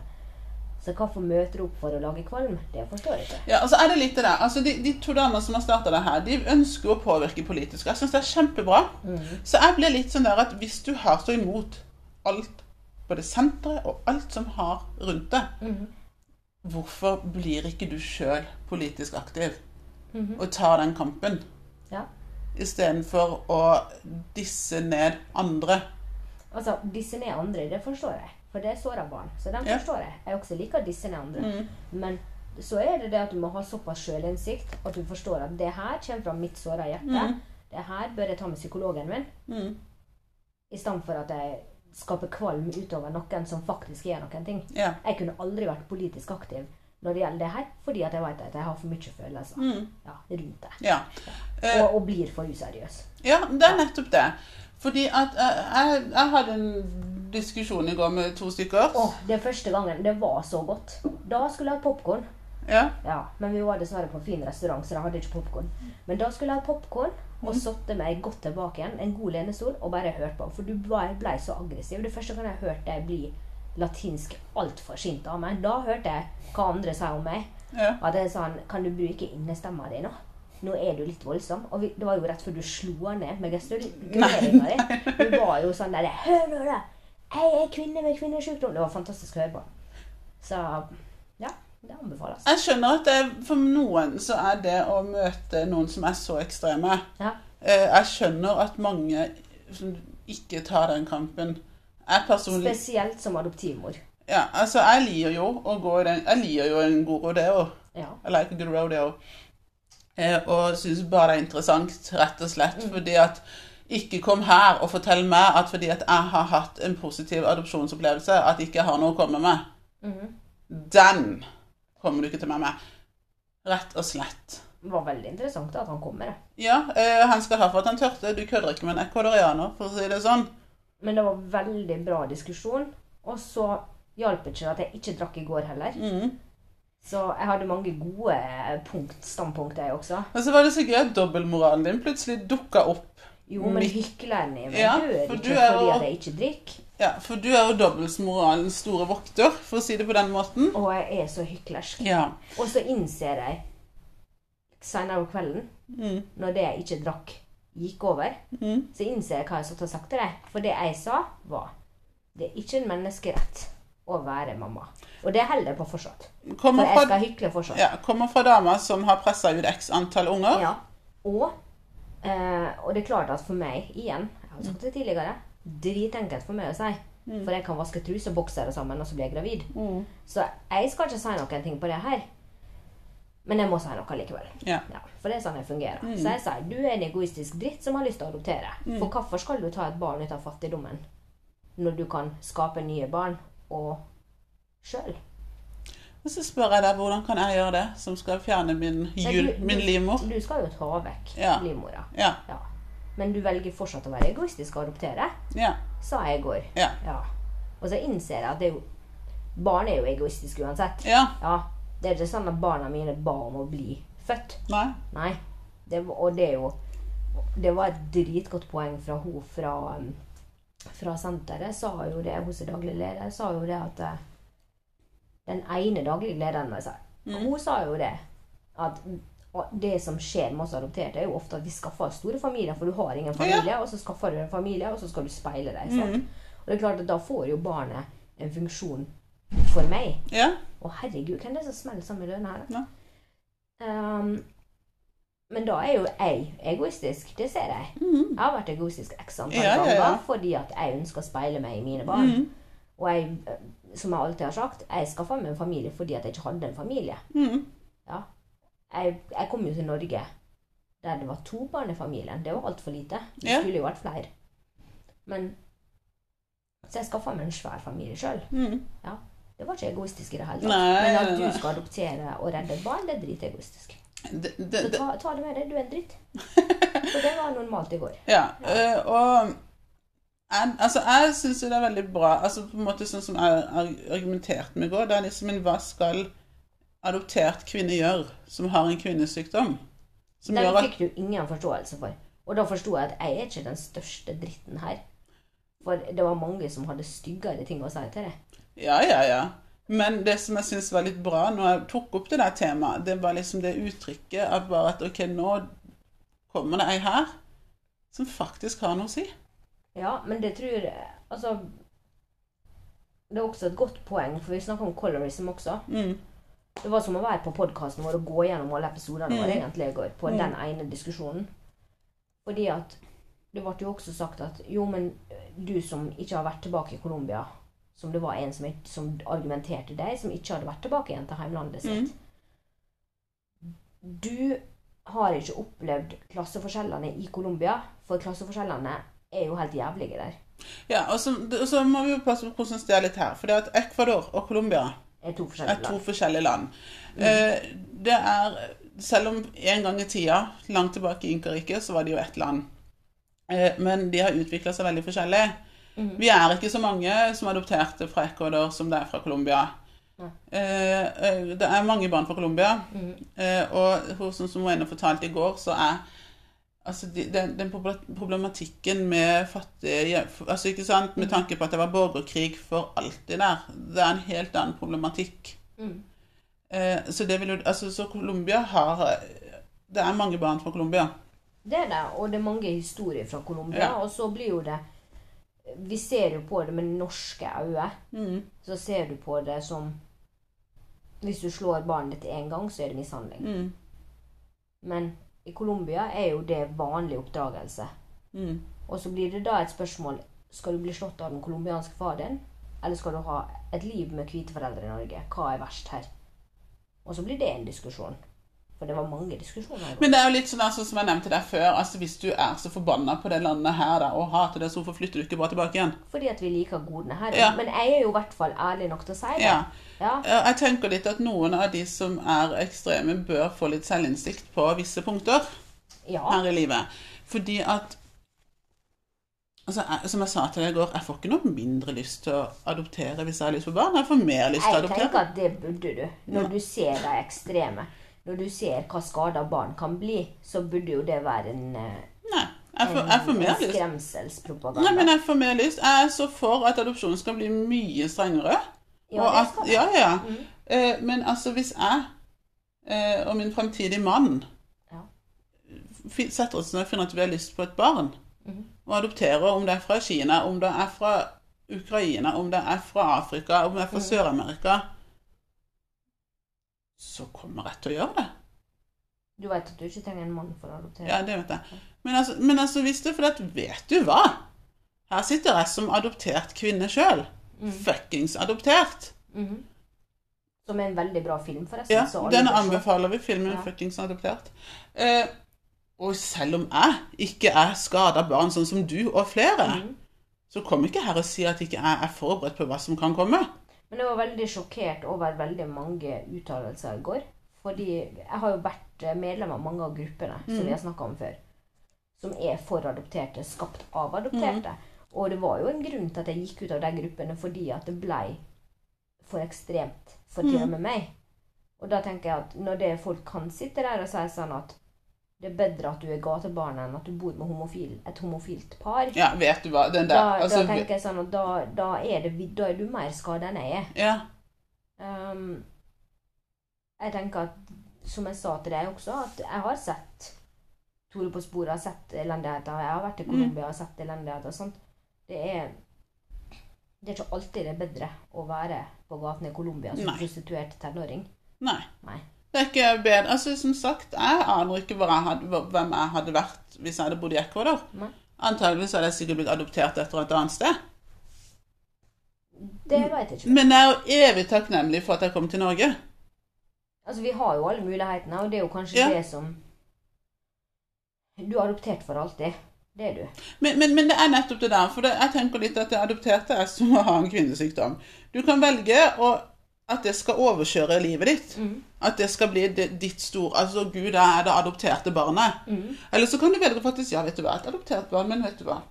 [SPEAKER 2] Så hvorfor møter du opp for å lage kvalm? Det forstår jeg ikke.
[SPEAKER 1] Ja, altså er det litt det der. Altså, de, de to damene som har starta det her, de ønsker å påvirke politisk. Jeg syns det er kjempebra. Så jeg blir litt sånn der at hvis du har så imot alt, både senteret og alt som har rundt det, hvorfor blir ikke du sjøl politisk aktiv og tar den kampen?
[SPEAKER 2] Ja.
[SPEAKER 1] Istedenfor å disse ned andre.
[SPEAKER 2] Altså, disse ned andre, det forstår jeg. For det sår av barn. Så den
[SPEAKER 1] Ja. Mm.
[SPEAKER 2] forstår jeg. Jeg også liker disse ned andre. Men så er det det at du må ha såpass sjølinnsikt at du forstår at det her kommer fra mitt såra hjerte. Det her bør jeg ta med psykologen min.
[SPEAKER 1] Mm.
[SPEAKER 2] I stedet for at jeg skaper kvalm utover noen som faktisk gjør noen ting.
[SPEAKER 1] Ja.
[SPEAKER 2] Jeg kunne aldri vært politisk aktiv når det gjelder det her, fordi at jeg vet at jeg har for mye følelser
[SPEAKER 1] Mm.
[SPEAKER 2] ja, rundt det.
[SPEAKER 1] Ja. Eh,
[SPEAKER 2] Og, og blir for useriøs.
[SPEAKER 1] Ja, det er nettopp det. Fordi at eh, jeg, jeg hadde en diskusjon i går med to stykker.
[SPEAKER 2] Åh, den første gangen, det var så godt. Da skulle jeg ha popkorn.
[SPEAKER 1] Ja.
[SPEAKER 2] Ja, men vi var dessverre på en fin restaurant, så de hadde ikke popkorn. Men da skulle jeg ha popkorn
[SPEAKER 1] Mhm.
[SPEAKER 2] og satte meg godt tilbake igjen, en god lenestol, og bare hørt på. For du blei blei så aggressiv. Det første gang jeg hørte deg bli latinsk altfor sint av meg, da hørte jeg hva andre sa om meg.
[SPEAKER 1] ja.
[SPEAKER 2] At jeg sa Kan du bruke innestemma di nå? Nå er du litt voldsom. Og vi, det var jo rett før du slo han ned med gestikuleringa
[SPEAKER 1] Nei,
[SPEAKER 2] di. Du var jo sånn der Hør nå, da! Jeg er kvinne med kvinnesykdom. Det var fantastisk å høre på. Så ja, det anbefales.
[SPEAKER 1] Jeg skjønner at det, for noen så er det å møte noen som er så ekstreme
[SPEAKER 2] Ja.
[SPEAKER 1] eh, Jeg skjønner at mange som ikke tar den kampen. Jeg personlig
[SPEAKER 2] Spesielt som adoptivmor.
[SPEAKER 1] ja, altså jeg liker jo å gå i den Jeg liker jo en god rodeo.
[SPEAKER 2] Ja.
[SPEAKER 1] I like a good rodeo. Eh, og syns bare det er interessant, rett og slett. Fordi at Ikke kom her og fortell meg at fordi at jeg har hatt en positiv adopsjonsopplevelse, at jeg ikke har noe å komme med.
[SPEAKER 2] Mhm.
[SPEAKER 1] Den kommer du ikke til meg med. Rett og slett.
[SPEAKER 2] Det var veldig interessant at han kom med det.
[SPEAKER 1] Ja, eh, han skal ha for at han tørte. Du kødder ikke med en ekvadorianer, for å si det sånn.
[SPEAKER 2] Men det var veldig bra diskusjon. Og så hjalp det ikke at jeg ikke drakk i går heller.
[SPEAKER 1] Mhm.
[SPEAKER 2] Så jeg hadde mange gode eh, punkt, standpunkt, jeg også.
[SPEAKER 1] Men så var det så gøy at dobbeltmoralen din plutselig dukka opp.
[SPEAKER 2] Jo, men
[SPEAKER 1] Mitt-
[SPEAKER 2] hykleren i meg
[SPEAKER 1] Ja,
[SPEAKER 2] dør
[SPEAKER 1] for
[SPEAKER 2] ikke
[SPEAKER 1] du er
[SPEAKER 2] fordi
[SPEAKER 1] jo-
[SPEAKER 2] at jeg ikke drikker.
[SPEAKER 1] Ja, For du er jo dobbeltmoralens store vokter, for å si det på den måten.
[SPEAKER 2] Og jeg er så hyklersk.
[SPEAKER 1] Ja.
[SPEAKER 2] Og så innser jeg senere på kvelden,
[SPEAKER 1] Mm.
[SPEAKER 2] når det jeg ikke drakk, gikk over,
[SPEAKER 1] Mm.
[SPEAKER 2] så innser jeg hva jeg satt og sagt til deg. For det jeg sa, var det er ikke en menneskerett å være mamma. Og det holder jeg på fortsatt. For
[SPEAKER 1] Kommer
[SPEAKER 2] jeg
[SPEAKER 1] fra
[SPEAKER 2] skal hykle fortsatt.
[SPEAKER 1] Ja, kommer fra damer som har pressa ut x antall unger.
[SPEAKER 2] Ja. Og, eh, og det er klart at for meg, igjen, jeg har sagt det tidligere, dritenkelt for meg å si. For jeg kan vaske truse og boksere sammen, og så blir jeg gravid.
[SPEAKER 1] Mm.
[SPEAKER 2] Så jeg skal ikke si noen ting på det her. Men jeg må si noe likevel.
[SPEAKER 1] Ja. Mm.
[SPEAKER 2] Ja, for det er sånn jeg fungerer. Så jeg sier du er en egoistisk dritt som har lyst til å adoptere. For hvorfor skal du ta et barn ut av fattigdommen når du kan skape nye barn og sjøl?
[SPEAKER 1] Og så spør jeg deg hvordan kan jeg gjøre det, som skal fjerne min, jul,
[SPEAKER 2] du-
[SPEAKER 1] min livmor.
[SPEAKER 2] Du skal jo ta vekk
[SPEAKER 1] Ja.
[SPEAKER 2] livmora.
[SPEAKER 1] Ja,
[SPEAKER 2] Ja. Men du velger fortsatt å være egoistisk og adoptere,
[SPEAKER 1] ja,
[SPEAKER 2] sa jeg i går.
[SPEAKER 1] ja.
[SPEAKER 2] Ja. Og så innser jeg at det er jo Barn er jo egoistiske uansett.
[SPEAKER 1] ja.
[SPEAKER 2] Ja. Det er ikke sånn at barna mine ba om å bli født.
[SPEAKER 1] Nei.
[SPEAKER 2] Nei. Det, var- og det er jo Det var et dritgodt poeng fra hun fra, um, fra senteret. Sa jo det, Hun som daglig leder sa jo det at eh, Den ene daglige lederen jeg sa, Hun sa jo det at og det som skjer med oss adopterte, er jo ofte at vi skaffer oss store familier, for du har ingen familie, og så skaffer du en familie, og så skal du speile deg. Sant? Og det er klart at da får jo barnet en funksjon for meg.
[SPEAKER 1] Ja.
[SPEAKER 2] Å, herregud, hvem er det som smeller sammen i dørene her? da?
[SPEAKER 1] Ja.
[SPEAKER 2] Ehm, men da er jo jeg egoistisk. Det ser jeg.
[SPEAKER 1] Mhm.
[SPEAKER 2] Jeg har vært egoistisk x antall
[SPEAKER 1] Ja, ja,
[SPEAKER 2] ganger
[SPEAKER 1] ja.
[SPEAKER 2] fordi at jeg ønsker å speile meg i mine barn.
[SPEAKER 1] Mhm.
[SPEAKER 2] Og jeg, eh, som jeg alltid har sagt, jeg skaffa meg en familie fordi at jeg ikke hadde en familie.
[SPEAKER 1] Mhm.
[SPEAKER 2] Jeg, jeg kom jo til Norge der det var to barn i familien. Det var altfor lite. Det
[SPEAKER 1] Ja.
[SPEAKER 2] skulle jo vært flere. Men Så jeg skaffa meg en svær familie sjøl.
[SPEAKER 1] Mhm.
[SPEAKER 2] Det var ikke egoistisk i det hele tatt.
[SPEAKER 1] Nei,
[SPEAKER 2] Men at
[SPEAKER 1] nei,
[SPEAKER 2] du
[SPEAKER 1] nei.
[SPEAKER 2] skal adoptere og redde et barn, det er dritegoistisk.
[SPEAKER 1] Det-
[SPEAKER 2] Så
[SPEAKER 1] det- det-
[SPEAKER 2] ta, ta det med deg, du er en
[SPEAKER 1] *laughs*
[SPEAKER 2] dritt. For det var normalt i går.
[SPEAKER 1] Ja. eh, Og jeg, altså, jeg syns jo det er veldig bra altså på en måte Sånn som jeg arg- argumenterte med i går, det er liksom en hva skal adoptert kvinne gjøre som har en kvinnesykdom? Som
[SPEAKER 2] Den
[SPEAKER 1] gjør at
[SPEAKER 2] fikk du ingen forståelse for. Og da forsto jeg at jeg er ikke den største dritten her. For det var mange som hadde styggere ting å si til deg.
[SPEAKER 1] Ja, ja, ja. Men det som jeg syns var litt bra når jeg tok opp det der temaet, det var liksom det uttrykket at bare at OK, nå kommer det ei her som faktisk har noe å si.
[SPEAKER 2] Ja, men det tror jeg Altså Det er også et godt poeng, for vi snakker om colorism også.
[SPEAKER 1] Mm.
[SPEAKER 2] Det var som å være på podkasten vår og gå gjennom alle episodene våre
[SPEAKER 1] Mm.
[SPEAKER 2] egentlig i går, på
[SPEAKER 1] Mm.
[SPEAKER 2] den ene diskusjonen. Fordi at det ble jo også sagt at jo, men du som ikke har vært tilbake i Colombia Som det var en som, ikke- som argumenterte deg, som ikke hadde vært tilbake igjen til heimlandet
[SPEAKER 1] mm.
[SPEAKER 2] sitt. Du har ikke opplevd klasseforskjellene i Colombia, for klasseforskjellene er jo helt jævlige der.
[SPEAKER 1] Ja, og så, og så må vi jo passe på hvordan det er litt her. For det at Ecuador og Colombia
[SPEAKER 2] er to
[SPEAKER 1] er
[SPEAKER 2] forskjellige
[SPEAKER 1] to
[SPEAKER 2] land.
[SPEAKER 1] forskjellige land. Eh, Det er, selv om en gang i tida, langt tilbake i Inkariket, så var det jo ett land. Eh, Men de har utvikla seg veldig forskjellig.
[SPEAKER 2] Mhm.
[SPEAKER 1] Vi er ikke så mange som adopterte fra Ecuador som det er fra Colombia.
[SPEAKER 2] Nei.
[SPEAKER 1] Eh, eh, Det er mange barn fra Colombia,
[SPEAKER 2] Mhm.
[SPEAKER 1] eh, og hun som som Wayne fortalte i går, så er Altså, de- den, den proble- problematikken med fattige hjem- altså, ikke sant, Med tanke på at det var borgerkrig for alltid der. Det er en helt annen problematikk.
[SPEAKER 2] Mhm.
[SPEAKER 1] Eh, så det vil jo altså, Så Colombia har eh, Det er mange barn fra Colombia.
[SPEAKER 2] Det er det, og det er mange historier fra Colombia.
[SPEAKER 1] Ja.
[SPEAKER 2] Og så blir jo det Vi ser jo på det med norske øyne.
[SPEAKER 1] Mm.
[SPEAKER 2] Så ser du på det som Hvis du slår barnet ditt én gang, så er det mishandling.
[SPEAKER 1] Mm.
[SPEAKER 2] Men i Colombia er jo det vanlig oppdragelse.
[SPEAKER 1] Mm.
[SPEAKER 2] Og så blir det da et spørsmål Skal du bli slått av den colombianske faren, eller skal du ha et liv med hvite foreldre i Norge? Hva er verst her? Og så blir det en diskusjon. For det var mange diskusjoner. her.
[SPEAKER 1] Men det er jo litt sånn altså, som jeg nevnte deg før, altså hvis du er så forbanna på det landet her da, og hater det, så hvorfor flytter du ikke bare tilbake igjen?
[SPEAKER 2] Fordi at vi liker godene her.
[SPEAKER 1] Ja.
[SPEAKER 2] Men jeg er jo i hvert fall ærlig nok til å si det.
[SPEAKER 1] Ja.
[SPEAKER 2] Ja.
[SPEAKER 1] Eh, Jeg tenker litt at noen av de som er ekstreme, bør få litt selvinnsikt på visse punkter
[SPEAKER 2] Ja.
[SPEAKER 1] her i livet. Fordi at altså, jeg, Som jeg sa til deg i går, jeg får ikke noe mindre lyst til å adoptere hvis jeg har lyst på barn. Jeg får mer lyst til å
[SPEAKER 2] Jeg
[SPEAKER 1] adoptere.
[SPEAKER 2] tenker at det burde du. Når du ser de ekstreme. Når du ser hva skader barn kan bli, så burde jo det være en, eh,
[SPEAKER 1] Nei, jeg får,
[SPEAKER 2] en,
[SPEAKER 1] jeg får
[SPEAKER 2] en
[SPEAKER 1] mer lyst.
[SPEAKER 2] skremselspropaganda.
[SPEAKER 1] Nei, men jeg får mer lyst. Jeg er så for at adopsjon skal bli mye strengere.
[SPEAKER 2] Ja,
[SPEAKER 1] og
[SPEAKER 2] det
[SPEAKER 1] at,
[SPEAKER 2] skal det.
[SPEAKER 1] ja, ja.
[SPEAKER 2] Mhm.
[SPEAKER 1] Eh, men altså, hvis jeg eh, og min fremtidige mann
[SPEAKER 2] Ja.
[SPEAKER 1] fi- setter oss ned og finner at vi har lyst på et barn,
[SPEAKER 2] Mhm.
[SPEAKER 1] og adopterer, om det er fra Kina, om det er fra Ukraina, om det er fra Afrika, om det er fra
[SPEAKER 2] Mhm.
[SPEAKER 1] Sør-Amerika, så kommer jeg til å gjøre det.
[SPEAKER 2] Du vet at du ikke trenger en mann for å adoptere?
[SPEAKER 1] Ja, det vet jeg. Men altså, men altså hvis det, for at, vet du hva? Her sitter jeg som adoptert kvinne sjøl.
[SPEAKER 2] Mm.
[SPEAKER 1] Fuckings adoptert.
[SPEAKER 2] Mhm. Som er en veldig bra film, forresten.
[SPEAKER 1] Ja,
[SPEAKER 2] så alle
[SPEAKER 1] den
[SPEAKER 2] bør se.
[SPEAKER 1] anbefaler vi, filmen
[SPEAKER 2] Ja.
[SPEAKER 1] Fuckings adoptert. Eh, og selv om jeg ikke er skada barn, sånn som du og flere,
[SPEAKER 2] Mhm.
[SPEAKER 1] så kom ikke her og si at ikke jeg er forberedt på hva som kan komme.
[SPEAKER 2] Men jeg var veldig sjokkert over veldig mange uttalelser i går. Fordi jeg har jo vært eh, medlem av mange av gruppene som
[SPEAKER 1] Mhm.
[SPEAKER 2] vi har snakka om før. Som er for adopterte, skapt av adopterte. Og det var jo en grunn til at jeg gikk ut av de gruppene, fordi at det blei for ekstremt for til og med meg. Og da tenker jeg at når det er folk kan sitte der og si sånn at det er bedre at du er gatebarn enn at du bor med homofil, et homofilt par
[SPEAKER 1] Ja, vet du hva, den
[SPEAKER 2] da,
[SPEAKER 1] der altså,
[SPEAKER 2] da tenker jeg sånn at da, da, er det, vid- da er du mer skada enn jeg er.
[SPEAKER 1] ja,
[SPEAKER 2] Ehm, jeg tenker at, som jeg sa til deg også, at jeg har sett Tore på sporet, jeg har sett elendigheter. Jeg har vært
[SPEAKER 1] Mm.
[SPEAKER 2] i Colombia og sett elendigheter og sånt. Det er, det er ikke alltid det er bedre å være på gaten i Colombia som
[SPEAKER 1] Nei.
[SPEAKER 2] prostituert tenåring.
[SPEAKER 1] Nei.
[SPEAKER 2] Nei.
[SPEAKER 1] Det er ikke bedre. Altså, som sagt, jeg aner ikke hvor jeg hadde, hvor- hvem jeg hadde vært hvis jeg hadde bodd i Ecuador.
[SPEAKER 2] Nei.
[SPEAKER 1] Antageligvis hadde jeg sikkert blitt adoptert etter et annet sted. Mm.
[SPEAKER 2] Det vet jeg ikke.
[SPEAKER 1] Men jeg er jo evig takknemlig for at jeg kom til Norge.
[SPEAKER 2] Altså, vi har jo alle mulighetene, og det er jo kanskje
[SPEAKER 1] Ja.
[SPEAKER 2] det som Du er adoptert for alltid. Det er du.
[SPEAKER 1] Men, men, men det er nettopp det der, for det, jeg tenker litt at det adopterte er som å ha en kvinnesykdom. Du kan velge å, at det skal overkjøre livet ditt.
[SPEAKER 2] Mhm.
[SPEAKER 1] At det skal bli det, ditt store Altså, Gud jeg er det adopterte barnet.
[SPEAKER 2] Mhm.
[SPEAKER 1] Eller så kan du velge faktisk Ja, vet du hva, et adoptert barn, men vet du hva.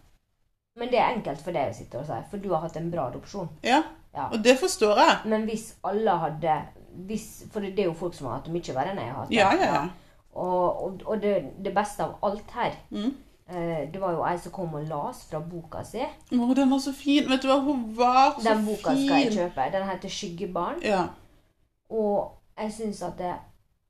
[SPEAKER 2] Men det er enkelt for deg å sitte og si, for du har hatt en bra adopsjon.
[SPEAKER 1] Ja.
[SPEAKER 2] Ja.
[SPEAKER 1] Og det forstår jeg.
[SPEAKER 2] Men hvis alle hadde hvis, For det er jo folk som har hatt det mye verre enn jeg har hatt. det.
[SPEAKER 1] Ja, ja, ja.
[SPEAKER 2] Og, og, og det, det beste av alt her
[SPEAKER 1] Mm.
[SPEAKER 2] eh, Det var jo ei som kom og las fra boka si.
[SPEAKER 1] Å, den var så fin. Vet du hva, hun var så
[SPEAKER 2] Den boka
[SPEAKER 1] fin.
[SPEAKER 2] skal jeg kjøpe. Den heter 'Skyggebarn'.
[SPEAKER 1] Ja.
[SPEAKER 2] Og jeg syns at det,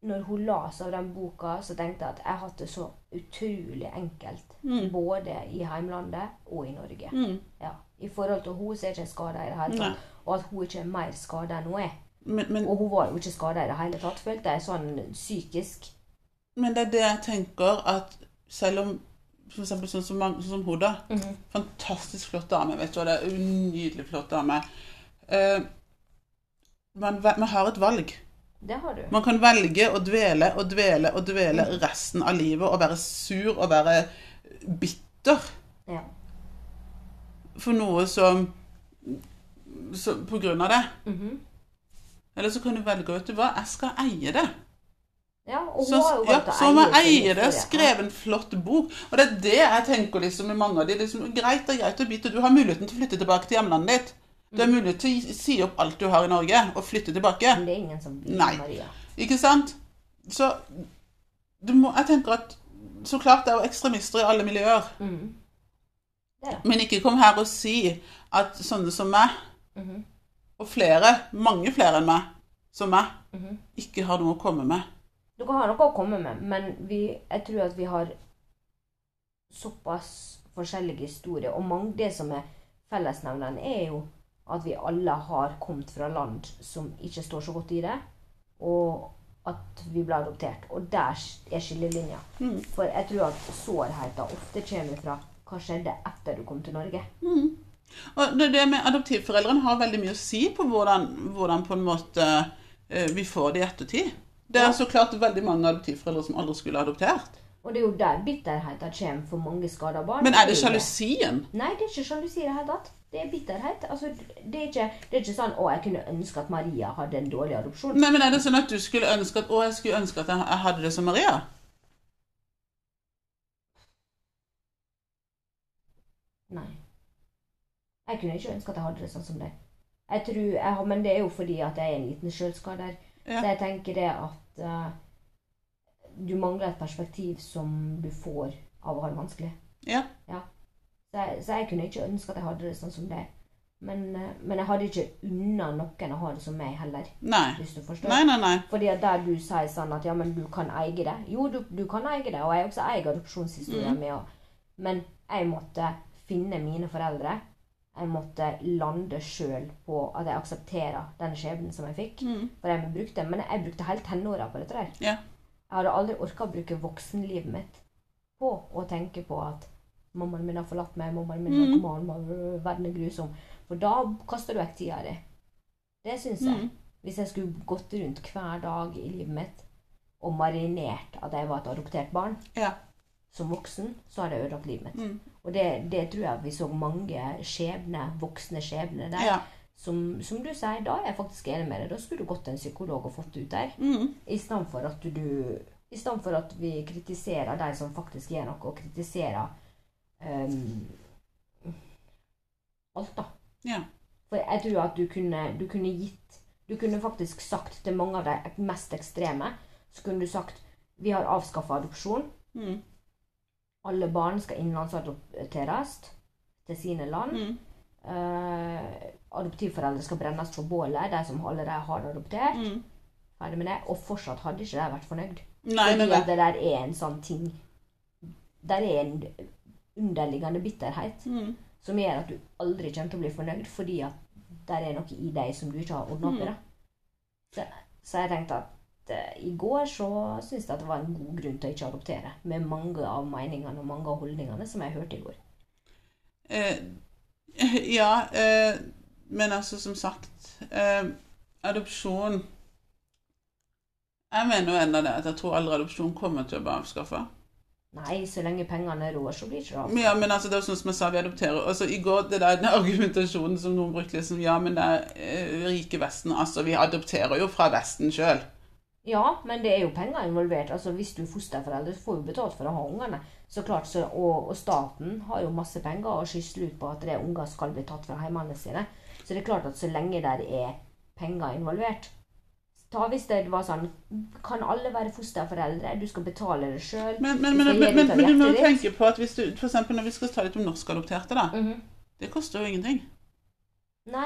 [SPEAKER 2] når hun las av den boka, så tenkte jeg at jeg har hatt det så utrolig enkelt.
[SPEAKER 1] Mm.
[SPEAKER 2] Både i heimlandet og i Norge.
[SPEAKER 1] Mm.
[SPEAKER 2] Ja. I forhold til henne så er jeg ikke skada i det hele tatt. Og at hun ikke er mer skada enn hun er.
[SPEAKER 1] Men, men,
[SPEAKER 2] Og hun var jo ikke skada i det hele tatt, følte jeg, sånn psykisk.
[SPEAKER 1] men det er det jeg tenker at selv om for eksempel sånn som, mange- sånn som hun, da. Fantastisk flott dame, vet du hva. Det er en nydelig flott dame. Eh, man, ve- man har et valg.
[SPEAKER 2] Det har du.
[SPEAKER 1] Man kan velge å dvele og dvele og dvele
[SPEAKER 2] Mm.
[SPEAKER 1] resten av livet og være sur og være bitter
[SPEAKER 2] Ja.
[SPEAKER 1] for noe som, som På grunn av det.
[SPEAKER 2] Mhm.
[SPEAKER 1] Eller så kan du velge, vet du hva, jeg skal eie det.
[SPEAKER 2] Ja, og hun
[SPEAKER 1] Så,
[SPEAKER 2] har jo
[SPEAKER 1] ja,
[SPEAKER 2] valgt å
[SPEAKER 1] så må jeg
[SPEAKER 2] sin
[SPEAKER 1] eie det,
[SPEAKER 2] historie.
[SPEAKER 1] skrevet en flott bok. Og det er det jeg tenker liksom med mange av de. Liksom, greit og greit og bit, og du har muligheten til å flytte tilbake til hjemlandet ditt. Du har mulighet til å si opp alt du har i Norge, og flytte tilbake.
[SPEAKER 2] Men det er ingen som vil
[SPEAKER 1] Nei.
[SPEAKER 2] Maria.
[SPEAKER 1] Ikke sant? Så du må, jeg tenker at så klart det er jo ekstremister i alle miljøer.
[SPEAKER 2] Mhm.
[SPEAKER 1] Men ikke kom her og si at sånne som meg,
[SPEAKER 2] Mhm.
[SPEAKER 1] og flere, mange flere enn meg, som meg,
[SPEAKER 2] Mhm.
[SPEAKER 1] ikke har noe å komme med.
[SPEAKER 2] Dere har noe å komme med, men vi, jeg tror at vi har såpass forskjellige historier. Og mange, det som er fellesnevneren, er jo at vi alle har kommet fra land som ikke står så godt i det, og at vi ble adoptert. Og der er skillelinja.
[SPEAKER 1] Mm.
[SPEAKER 2] For jeg tror at sårheten ofte kommer fra hva skjedde etter du kom til Norge.
[SPEAKER 1] Og det, det med adoptivforeldrene har veldig mye å si på hvordan, hvordan på en måte eh, vi får det i ettertid. Det er så klart veldig mange adoptivforeldre som aldri skulle adoptert.
[SPEAKER 2] Og det er jo der bitterheten kommer for mange skada barn.
[SPEAKER 1] Men er det
[SPEAKER 2] jo
[SPEAKER 1] sjalusien?
[SPEAKER 2] Nei, det er ikke sjalusi i det hele tatt. Det er bitterhet. Altså, det er ikke, det er ikke sånn 'Å, jeg kunne ønske at Maria hadde en dårlig adopsjon'.
[SPEAKER 1] Nei, men er det sånn at du skulle ønske at Å, jeg skulle ønske at jeg, jeg hadde det som Maria?
[SPEAKER 2] Nei. Jeg kunne ikke ønske at jeg hadde det sånn som deg. Jeg tror jeg har, Men det er jo fordi at jeg er en liten sjølskader.
[SPEAKER 1] Ja.
[SPEAKER 2] Så jeg tenker det at eh, du mangler et perspektiv som du får av å ha det vanskelig.
[SPEAKER 1] Ja.
[SPEAKER 2] Så jeg, så jeg kunne ikke ønske at jeg hadde det sånn som deg. Men, eh, men jeg hadde ikke unna noen å ha det som meg heller,
[SPEAKER 1] Nei.
[SPEAKER 2] hvis du forstår.
[SPEAKER 1] Nei, nei, nei.
[SPEAKER 2] Fordi at der du sier sånn at ja, men du kan eie det. Jo, du, du kan eie det, og jeg også eier adopsjonshistorien min. og- Men jeg måtte finne mine foreldre. Jeg måtte lande sjøl på at jeg aksepterer den skjebnen som jeg fikk.
[SPEAKER 1] Mm.
[SPEAKER 2] For jeg brukte, Men jeg brukte hele tenåra på dette der.
[SPEAKER 1] Ja.
[SPEAKER 2] Jeg hadde aldri orka å bruke voksenlivet mitt på å tenke på at mammaen min har forlatt meg, mammaen min er
[SPEAKER 1] Mm.
[SPEAKER 2] narkoman, mamma- verden er grusom. For da kaster du vekk tida di. Det syns jeg.
[SPEAKER 1] Mm.
[SPEAKER 2] Hvis jeg skulle gått rundt hver dag i livet mitt og marinert at jeg var et adoptert barn
[SPEAKER 1] Ja.
[SPEAKER 2] som voksen, så hadde jeg ødelagt livet mitt.
[SPEAKER 1] Mm.
[SPEAKER 2] Og det, det tror jeg vi så mange skjebner, voksne skjebner der.
[SPEAKER 1] Ja.
[SPEAKER 2] Som, som du sier, da er jeg faktisk enig med deg. Da skulle du gått til en psykolog og fått det ut der.
[SPEAKER 1] Mm.
[SPEAKER 2] I stedet for at du I stedet for at vi kritiserer de som faktisk gjør noe, og kritiserer ehm, alt, da.
[SPEAKER 1] Ja.
[SPEAKER 2] For jeg tror at du kunne, du kunne gitt Du kunne faktisk sagt til mange av de mest ekstreme Så kunne du sagt Vi har avskaffa adopsjon.
[SPEAKER 1] Mm.
[SPEAKER 2] Alle barn skal innenlandsadopteres til sine land.
[SPEAKER 1] Mm.
[SPEAKER 2] Eh, adoptivforeldre skal brennes på bålet, de som allerede har adoptert.
[SPEAKER 1] Mm.
[SPEAKER 2] Ferdig med det. Og fortsatt hadde ikke de vært fornøyd.
[SPEAKER 1] Nei,
[SPEAKER 2] Fordi
[SPEAKER 1] men
[SPEAKER 2] at det der er en sånn ting Der er en underliggende bitterhet
[SPEAKER 1] Mm.
[SPEAKER 2] som gjør at du aldri kommer til å bli fornøyd, fordi at der er noe i deg som du ikke har ordna
[SPEAKER 1] Mm.
[SPEAKER 2] opp i. da. Så, så jeg tenkte at eh, i går så syns jeg at det var en god grunn til å ikke adoptere, med mange av meningene og mange av holdningene som jeg hørte i går.
[SPEAKER 1] Eh, *laughs* ja, eh, men altså som sagt eh, Adopsjon Jeg mener jo enda det at jeg tror aldri adopsjon kommer til å bli avskaffa.
[SPEAKER 2] Nei, så lenge pengene rår, så blir det ikke det.
[SPEAKER 1] Ja, men altså, det er jo sånn som jeg sa, vi adopterer altså, I går, det der, den *laughs* argumentasjonen som noen brukte liksom, Ja, men det er eh, rike Vesten Altså, vi adopterer jo fra Vesten sjøl.
[SPEAKER 2] Ja, men det er jo penger involvert. Altså, Hvis du er fosterforelder, så får du betalt for å ha ungene. Så klart, så, og, og staten har jo masse penger og skysler ut på at det unger skal bli tatt fra hjemmene sine. Så det er klart at så lenge der er penger involvert Ta hvis det var sånn Kan alle være fosterforeldre? Du skal betale det sjøl.
[SPEAKER 1] Men, men, men, men, men, men du må jo tenke på at hvis du For eksempel når vi skal ta litt om norskadopterte, da. Det koster jo ingenting.
[SPEAKER 2] Nei,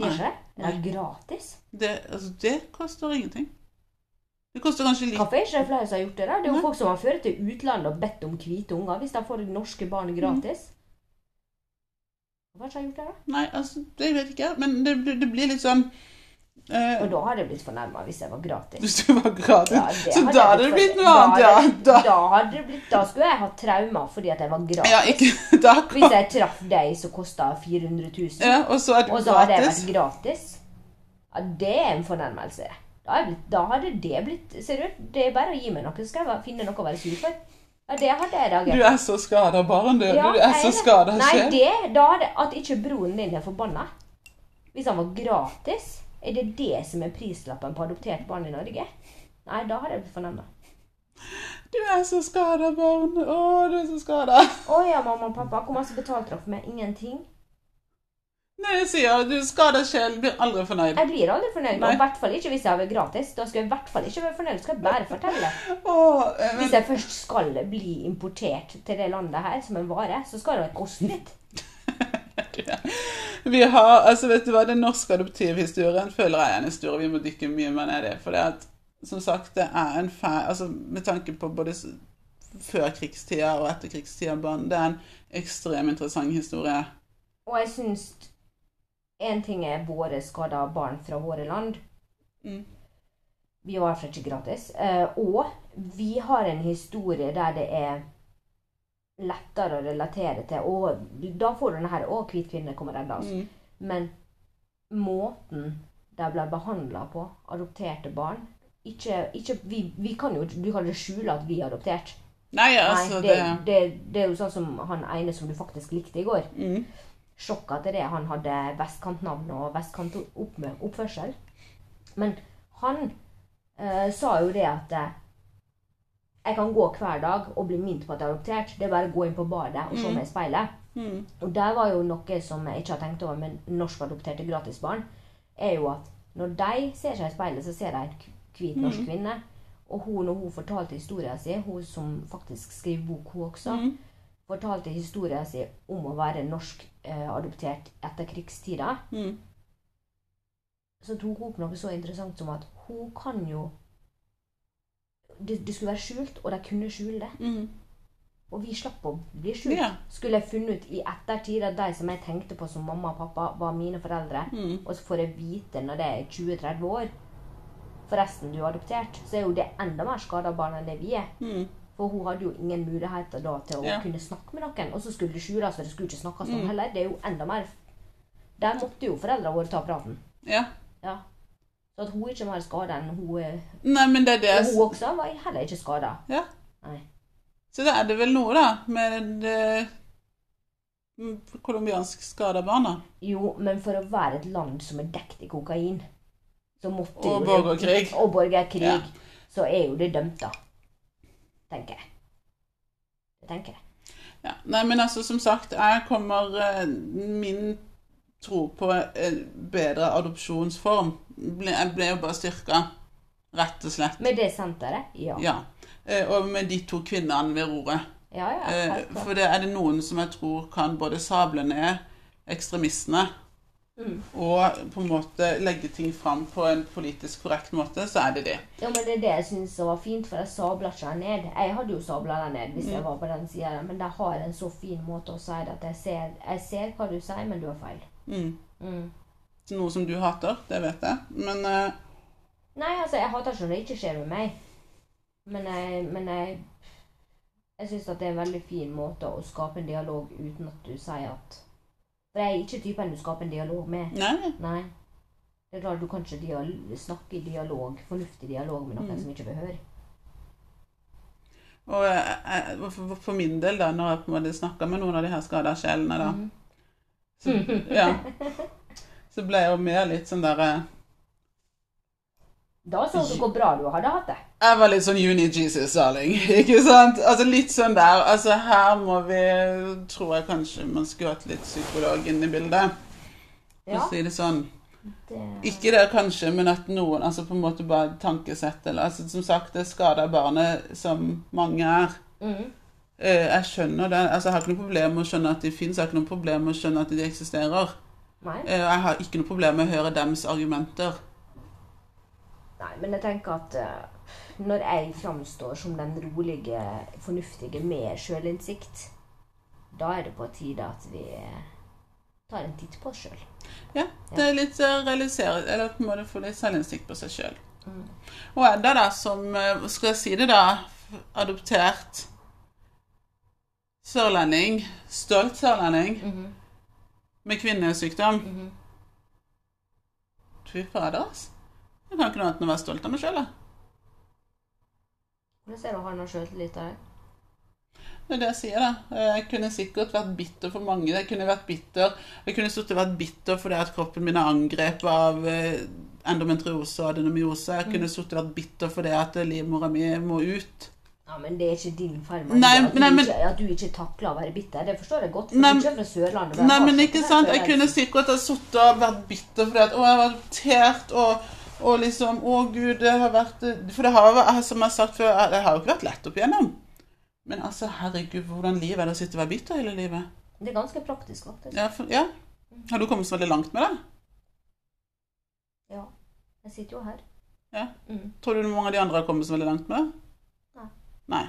[SPEAKER 2] gjør ikke det? Det er
[SPEAKER 1] Nei.
[SPEAKER 2] gratis.
[SPEAKER 1] Det, altså, det koster ingenting. Det koster kanskje litt
[SPEAKER 2] Hvorfor er ikke det flere som har gjort det? der? Det er
[SPEAKER 1] Nei.
[SPEAKER 2] jo folk som har ført til utlandet og bedt om hvite unger hvis de får norske barn
[SPEAKER 1] Mhm.
[SPEAKER 2] gratis. Hvorfor har de ikke gjort det? da?
[SPEAKER 1] Nei, altså, det vet ikke jeg. Men det, blir- det blir litt sånn eh,
[SPEAKER 2] Og da hadde jeg blitt fornærma hvis jeg var
[SPEAKER 1] *laughs*
[SPEAKER 2] gratis.
[SPEAKER 1] Hvis det var gratis.
[SPEAKER 2] Ja, det
[SPEAKER 1] så
[SPEAKER 2] hadde
[SPEAKER 1] da
[SPEAKER 2] jeg
[SPEAKER 1] hadde det blitt noe
[SPEAKER 2] fornærmet.
[SPEAKER 1] annet, ja.
[SPEAKER 2] Da,
[SPEAKER 1] Da,
[SPEAKER 2] hadde- da, hadde det blitt, da skulle jeg hatt traumer fordi at jeg var gratis.
[SPEAKER 1] ja, ikke, da
[SPEAKER 2] Hvis
[SPEAKER 1] kom,
[SPEAKER 2] jeg traff deg som kosta 400 000,
[SPEAKER 1] ja, og så er det
[SPEAKER 2] og så hadde jeg
[SPEAKER 1] gratis.
[SPEAKER 2] vært gratis ja, Det er en fornærmelse. Da, hadde jeg blitt, da hadde det blitt Seriøst, det er bare å gi meg noe, så skal jeg va- finne noe å være sur for. Ja, det hadde jeg
[SPEAKER 1] Du
[SPEAKER 2] reagert
[SPEAKER 1] er så skada barn, du.
[SPEAKER 2] Ja,
[SPEAKER 1] du er så
[SPEAKER 2] jeg-
[SPEAKER 1] skada
[SPEAKER 2] Nei,
[SPEAKER 1] sjel.
[SPEAKER 2] det, da hadde at ikke broren din er forbanna. Hvis han var gratis. Er det det som er prislappen på adoptert barn i Norge? Nei, da har jeg blitt fornærma.
[SPEAKER 1] Du er så skada, barn. Å, du er så skada.
[SPEAKER 2] Å ja, mamma og pappa, hvor mye betalte dere for meg? Ingenting?
[SPEAKER 1] Nei, jeg sier du er skada sjel, blir aldri fornøyd.
[SPEAKER 2] Jeg blir aldri fornøyd, og
[SPEAKER 1] Nei.
[SPEAKER 2] i hvert fall ikke hvis jeg har gratis. Da skal jeg i hvert fall ikke være fornøyd, skal jeg bare fortelle.
[SPEAKER 1] Å, eh, *laughs* men
[SPEAKER 2] Hvis jeg først skal bli importert til det landet her som en vare, så skal det koste litt.
[SPEAKER 1] Vi har, altså vet du hva, Den norske adoptivhistorien føler jeg er en historie vi må dykke mye mer ned i. For det at, som sagt, det er en fæl, altså med tanke på både s- før krigstida og etter krigstida, barn, det er en ekstremt interessant historie.
[SPEAKER 2] Og jeg syns En ting er våre skada barn fra våre land.
[SPEAKER 1] Mm.
[SPEAKER 2] Vi var iallfall ikke gratis. Eh, og vi har en historie der det er lettere å relatere til. Og da får du den her 'Å, hvit kvinne kommer og redder oss'.
[SPEAKER 1] Mm.
[SPEAKER 2] Men måten de ble behandla på, adopterte barn ikke, ikke, vi, vi kan jo Du kan jo skjule at vi er adoptert.
[SPEAKER 1] Nei, altså
[SPEAKER 2] Nei, det, det, det er jo sånn som han ene som du faktisk likte i går.
[SPEAKER 1] Mm.
[SPEAKER 2] Sjokka til det. Han hadde vestkantnavn og vestkantoppførsel. Men han eh, sa jo det at eh, jeg kan gå hver dag og bli minnet på at jeg er adoptert. Det er bare å gå inn på badet og se meg i speilet.
[SPEAKER 1] Mm.
[SPEAKER 2] Og der var jo noe som jeg ikke har tenkt over med norskadopterte gratisbarn, er jo at når de ser seg i speilet, så ser de en k- hvit norsk kvinne. Og hun, når hun fortalte historien sin, hun som faktisk skriver bok, hun også,
[SPEAKER 1] Mm.
[SPEAKER 2] fortalte historien sin om å være norsk eh, adoptert etter krigstida,
[SPEAKER 1] Mm.
[SPEAKER 2] så tok hun opp noe så interessant som at hun kan jo det, det skulle være skjult, og de kunne skjule det.
[SPEAKER 1] Mm.
[SPEAKER 2] Og vi slapp å bli skjult.
[SPEAKER 1] Ja.
[SPEAKER 2] Skulle jeg funnet ut i ettertid at de som jeg tenkte på som mamma og pappa, var mine foreldre,
[SPEAKER 1] Mm.
[SPEAKER 2] og så får jeg vite når det er 20-30 år Forresten, du er adoptert. Så er jo det enda mer skada barn enn det vi er.
[SPEAKER 1] Mm.
[SPEAKER 2] For hun hadde jo ingen muligheter da til å
[SPEAKER 1] Ja. Mm.
[SPEAKER 2] kunne snakke med noen. Og så skulle det skjules, og det skulle ikke snakkes om heller. Det er jo enda mer Der måtte jo foreldrene våre ta praten.
[SPEAKER 1] Ja.
[SPEAKER 2] Ja. Så at hun ikke var skada enn hun er.
[SPEAKER 1] Nei, men det er det
[SPEAKER 2] Og hun også var heller ikke skada.
[SPEAKER 1] Ja.
[SPEAKER 2] Nei.
[SPEAKER 1] Så da er det vel noe, da, med det mm, colombiansk skada barn, da.
[SPEAKER 2] Jo, men for å være et land som er dekt i kokain, så måtte
[SPEAKER 1] Og
[SPEAKER 2] jo det-
[SPEAKER 1] borgerkrig.
[SPEAKER 2] Og borgerkrig.
[SPEAKER 1] Ja.
[SPEAKER 2] Så er jo det dømt, da. Tenker jeg. Det tenker jeg.
[SPEAKER 1] Ja. Nei, men altså, som sagt, jeg kommer eh, Min tro på en bedre adopsjonsform ble, jeg ble jo bare styrka, rett og slett.
[SPEAKER 2] Med det senteret? Ja.
[SPEAKER 1] Ja. Eh, Og med de to kvinnene ved roret.
[SPEAKER 2] Ja, ja.
[SPEAKER 1] Eh,
[SPEAKER 2] helt klart.
[SPEAKER 1] For det er det noen som jeg tror kan både sable ned ekstremistene
[SPEAKER 2] Mm.
[SPEAKER 1] og på en måte legge ting fram på en politisk korrekt måte, så er det det.
[SPEAKER 2] Ja, men det er det jeg syns var fint, for jeg sabla ikke den ned. Jeg hadde jo sabla den ned hvis jeg var på den sida, men de har en så fin måte å si det at jeg ser, jeg ser hva du sier, men du har feil.
[SPEAKER 1] Mm.
[SPEAKER 2] Mm.
[SPEAKER 1] Noe som du hater, det vet jeg. Men eh,
[SPEAKER 2] Nei, altså, jeg hater ikke når det ikke skjer med meg, men jeg, men jeg jeg syns at det er en veldig fin måte å skape en dialog uten at du sier at For jeg er ikke typen du skaper en dialog med.
[SPEAKER 1] nei.
[SPEAKER 2] Nei. Det er klart du kan ikke dial snakke i dialog, fornuftig dialog med noen som ikke vil høre.
[SPEAKER 1] Og jeg- jeg- for, for min del, da, når jeg på en måte snakker med noen av de her skada sjelene, da,
[SPEAKER 2] Mhm.
[SPEAKER 1] så, ja, så ble jeg jo mer litt sånn der eh,
[SPEAKER 2] Da så du hvor bra du hadde hatt det.
[SPEAKER 1] Jeg var litt sånn Uni-Jesus, darling. *laughs* Ikke sant? Altså litt sånn der. Altså her må vi Tror jeg kanskje man skulle hatt litt psykolog inn i bildet, for
[SPEAKER 2] Ja,
[SPEAKER 1] å si det sånn.
[SPEAKER 2] det
[SPEAKER 1] Ikke det kanskje, men at noen altså på en måte bare tankesett eller altså Som sagt, det skader barnet som mange er.
[SPEAKER 2] Mhm.
[SPEAKER 1] Eh, Jeg skjønner det. Altså, jeg har ikke noe problem med å skjønne at de finnes. Jeg har ikke noe problem med å skjønne at de eksisterer.
[SPEAKER 2] Nei.
[SPEAKER 1] Eh, og Jeg har ikke noe problem med å høre deres argumenter.
[SPEAKER 2] Nei, men jeg tenker at eh, når jeg framstår som den rolige, fornuftige med sjølinnsikt, da er det på tide at vi eh, tar en titt på oss sjøl.
[SPEAKER 1] Ja, det er litt å realisere Eller på en måte få litt selvinnsikt på seg sjøl. Og er det da som eh, hva Skal jeg si det, da? Adoptert sørlending. Stolt sørlending. Med kvinnesykdom. Fy fader, altså. Jeg kan ikke noe annet enn å være stolt av meg sjøl, da.
[SPEAKER 2] Hvordan ser du han har sjøltillit av deg?
[SPEAKER 1] Det er det jeg sier, da. Eh, Jeg kunne sikkert vært bitter for mange. Jeg kunne vært bitter Jeg kunne stort sett vært bitter fordi at kroppen min er angrepet av eh, endometriose og adenomyose. Jeg kunne stort sett vært bitter fordi at livmora mi må ut.
[SPEAKER 2] Ja, men det er ikke din feil. Maria,
[SPEAKER 1] Nei,
[SPEAKER 2] at, du
[SPEAKER 1] nei, men-
[SPEAKER 2] ikke, at du ikke takler å være bitter. Det forstår jeg godt. For
[SPEAKER 1] Nei,
[SPEAKER 2] du kommer fra Sørlandet. altså, og
[SPEAKER 1] Nei,
[SPEAKER 2] har
[SPEAKER 1] men
[SPEAKER 2] ikke
[SPEAKER 1] ikke
[SPEAKER 2] vært
[SPEAKER 1] sant.
[SPEAKER 2] så
[SPEAKER 1] Jeg
[SPEAKER 2] lenge.
[SPEAKER 1] kunne sikkert ha sittet og vært bitter fordi at å, jeg var adoptert og og liksom Å, gud, det har vært eh, For det har vært, som jeg har sagt før, eh, det har jo ikke vært lett opp igjennom. Men altså, herregud, hvordan liv er det å sitte og være bitter hele livet?
[SPEAKER 2] Det er ganske praktisk, faktisk.
[SPEAKER 1] Ja, for, ja. Har du kommet så veldig langt med det?
[SPEAKER 2] Ja. Jeg sitter jo her.
[SPEAKER 1] Ja.
[SPEAKER 2] Mm.
[SPEAKER 1] Tror du mange av de andre har kommet så veldig langt med det?
[SPEAKER 2] Nei.
[SPEAKER 1] Nei.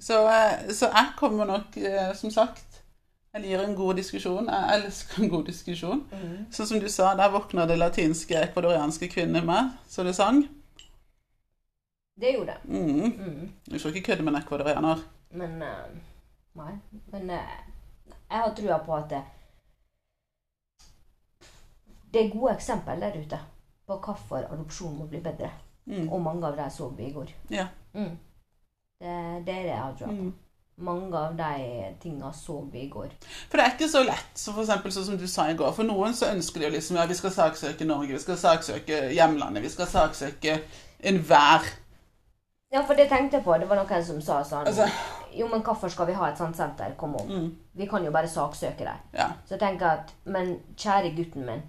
[SPEAKER 1] Så, eh, så jeg kommer nok, eh, som sagt Jeg liker en god diskusjon. Jeg elsker en god diskusjon.
[SPEAKER 2] Mm.
[SPEAKER 1] Sånn som du sa, der våkna det latinske ekvadorianske kvinner med, så det sang.
[SPEAKER 2] Det gjorde jeg.
[SPEAKER 1] Mm.
[SPEAKER 2] Mm.
[SPEAKER 1] Du skal ikke kødde med en ekvadorianer.
[SPEAKER 2] Men eh, Nei. Men eh, jeg har trua på at det, det er gode eksempel der ute på hvorfor adopsjon må bli bedre.
[SPEAKER 1] Mm.
[SPEAKER 2] Og mange av dem så vi i går.
[SPEAKER 1] Ja.
[SPEAKER 2] Mm. Det, det er det jeg har trua på.
[SPEAKER 1] Mm.
[SPEAKER 2] Mange av de tinga så vi i går.
[SPEAKER 1] For det er ikke så lett, så for eksempel, sånn som du sa i går. For noen så ønsker de jo liksom ja, vi skal saksøke Norge, vi skal saksøke hjemlandet, vi skal saksøke enhver.
[SPEAKER 2] Ja, for det tenkte jeg på. Det var noen som sa sånn
[SPEAKER 1] Altså,
[SPEAKER 2] Jo, men hvorfor skal vi ha et sånt senter? Kom om.
[SPEAKER 1] mm,
[SPEAKER 2] Vi kan jo bare saksøke dem.
[SPEAKER 1] ja.
[SPEAKER 2] Så tenker jeg at Men kjære gutten min.